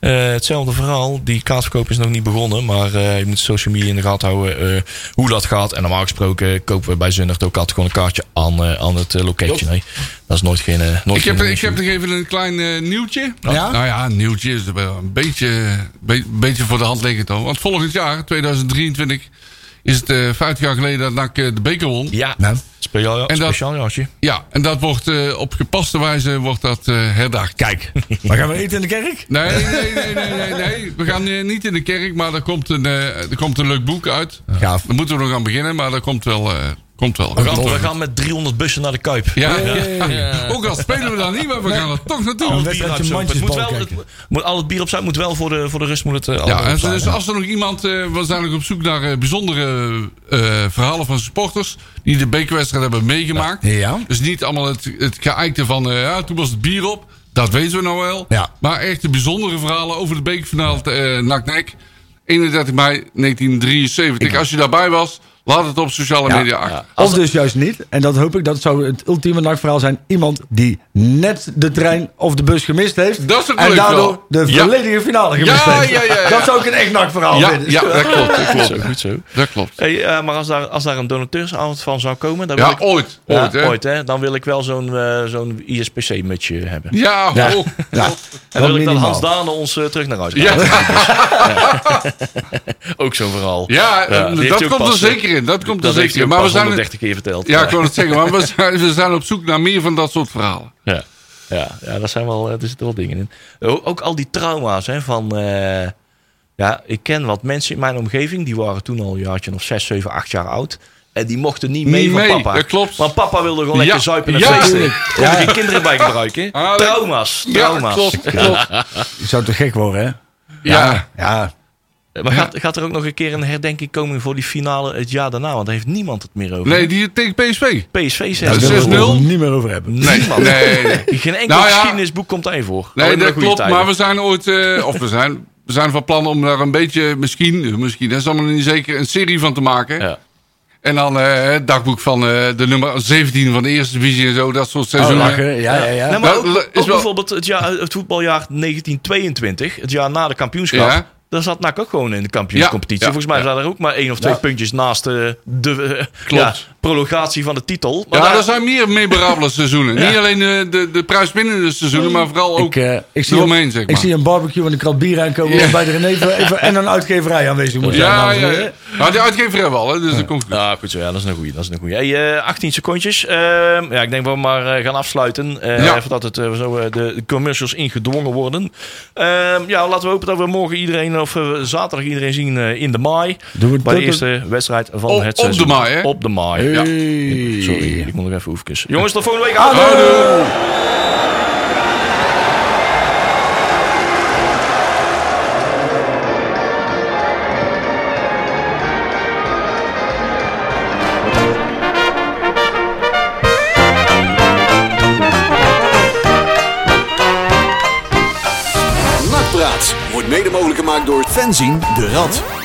Eh, hetzelfde verhaal. Die kaartverkoop is nog niet begonnen. Maar eh, je moet social media in de gaten houden eh, hoe dat gaat. En normaal gesproken kopen we bij Zundert ook altijd gewoon een kaartje aan, eh, aan het eh, loketje. Nee, dat is nooit geen. eh, nooit Ik heb, geen ik heb issue. nog even een klein eh, nieuwtje. Ja? Nou ja, een nieuwtje is wel een beetje, be- beetje voor de hand liggend. hoor. Want volgend jaar, 2023, is het eh, 50 jaar geleden dat NAC eh, de beker won. Ja, Nou, is Speciaal, En dat- speciaal jasje. Ja, en dat wordt eh, op gepaste wijze wordt dat, eh, herdacht. Kijk, maar gaan we eten in de kerk? Nee, nee, nee, nee, nee, nee. We gaan eh, niet in de kerk, maar er komt een, eh, er komt een leuk boek uit. Gaaf. Daar moeten we nog aan beginnen, maar dat komt wel. eh, komt wel. We gaan, we gaan met 300 bussen naar de Kuip. Ja, ja. Ook al spelen we daar niet, maar we gaan er toch Al naartoe. Een het bier wedstrijdje op zout. Het moet mandjesbal wel, het, moet, al het bier op zout moet wel voor de, voor de rust moet het eh, allemaal Ja, op en zijn. dus als er nog iemand eh, was eigenlijk op zoek naar eh, bijzondere eh, verhalen van supporters die de bekerwedstrijd hebben meegemaakt. Ja. Dus niet allemaal het, het geëikte van eh, ja, toen was het bier op. Dat weten we nou wel. Ja. Maar echt de bijzondere verhalen over de bekerfinale eh NAC-NEC. 31 mei 1973. Als je daarbij was, laat het op sociale media achter. Of dus juist niet. En dat hoop ik, dat zou het ultieme nachtverhaal zijn. Iemand die net de trein of de bus gemist heeft. Dat is ook en leuk daardoor wel. de Ja. volledige finale gemist Ja, heeft. ja, ja, ja. Dat zou ik een echt nachtverhaal Oh, Ja, vinden. ja, dat klopt. Dat klopt. Goed zo. Dat klopt. Hey, eh, maar als daar, als daar een donateursavond van zou komen, dan wil Ja, ik, ooit. Ja, Ooit, hè? Dan wil ik wel zo'n eh, zo'n ISPC-mutsje hebben. Ja, Ja. oh. Ja. en dan wil ik dat minimaal. Hans Dane ons eh, terug naar huis Ja. brengt. Ook zo'n verhaal. Ja, die heeft dat hij ook komt er pas, eh, zeker in. Dat komt er Dat heeft zeker hij in. ook Maar we pas zijn, 130 keer verteld. Ja, ik wil het zeggen, maar we zijn, we zijn op zoek naar meer van dat soort verhalen. Ja, ja, ja daar zijn wel, eh, er zitten wel dingen in. O- Ook al die trauma's hè, van... eh, ja, ik ken wat mensen in mijn omgeving. Die waren toen al een jaartje of zes, zeven, acht jaar oud. En die mochten niet mee Niet van mee, papa. dat klopt. Want papa wilde gewoon Ja, lekker zuipen en ja. feesten. Kon er geen kinderen bij gebruiken. Ah, dat- trauma's, Ja, trauma's. klopt, klopt. Ja. Je zou toch gek worden, hè? Ja. Ja. Maar gaat, gaat er ook nog een keer een herdenking komen voor die finale het jaar daarna? Want daar heeft niemand het meer over. Nee, die tegen PSV. PSV Daar zegt dat willen is het. we het 6-0? niet meer over hebben. Nee, Niemand. nee, nee. Geen enkel Nou ja. geschiedenisboek komt daarin voor. Nee, Alleen maar dat goede klopt. tijden. Maar we zijn ooit, eh, of we zijn, we zijn van plan om daar een beetje, misschien, misschien, dat is allemaal niet zeker, een serie van te maken. Ja. En dan eh, het dagboek van eh, de nummer 17 van de eerste divisie en zo, dat soort Oh, seizoenen. lachen. Ja, ja, ja. Nou, maar Dat ook, le- ook is wel- bijvoorbeeld het, jaar, het voetbaljaar 1922, het jaar na de kampioenschap. Ja. Daar zat NAC ook gewoon in de kampioenscompetitie. Ja, ja, Volgens mij ja. zijn er ook maar één of twee puntjes naast eh, de eh, ja, prologatie van de titel. Maar Ja, daar- er zijn meer memorabele seizoenen. Niet alleen de, de, de prijswinnende seizoenen, maar vooral ook Ik, eh, ik, zie eromheen, een, zeg ik maar. zie een barbecue en een krat bier aankomen. Ja. Bij de René even, even- en een uitgeverij aanwezig moet zijn. ja, dames en ja, heren. ja. Nou, die uitgever hebben we al, hè, dus dat komt goed. Ah, goed zo. Ja, dat is een goeie. Dat is een goeie. Hey, eh, 18 secondjes. Ehm, ja, ik denk dat we maar eh, gaan afsluiten. Eh Ja. Voordat het, eh, zo, eh, de commercials ingedwongen worden. Ehm, ja, laten we hopen dat we morgen iedereen, of eh, zaterdag iedereen zien eh, in de maai. Doen we het bij de ook- eerste wedstrijd van Op- op het de seizoen. maai, hè? Op de maai, ja. Hey. Sorry, ik moet nog even oefenen. Jongens, tot volgende week. Ado! Hallo. Nakpraat wordt mede mogelijk gemaakt door Fenzin de Rad.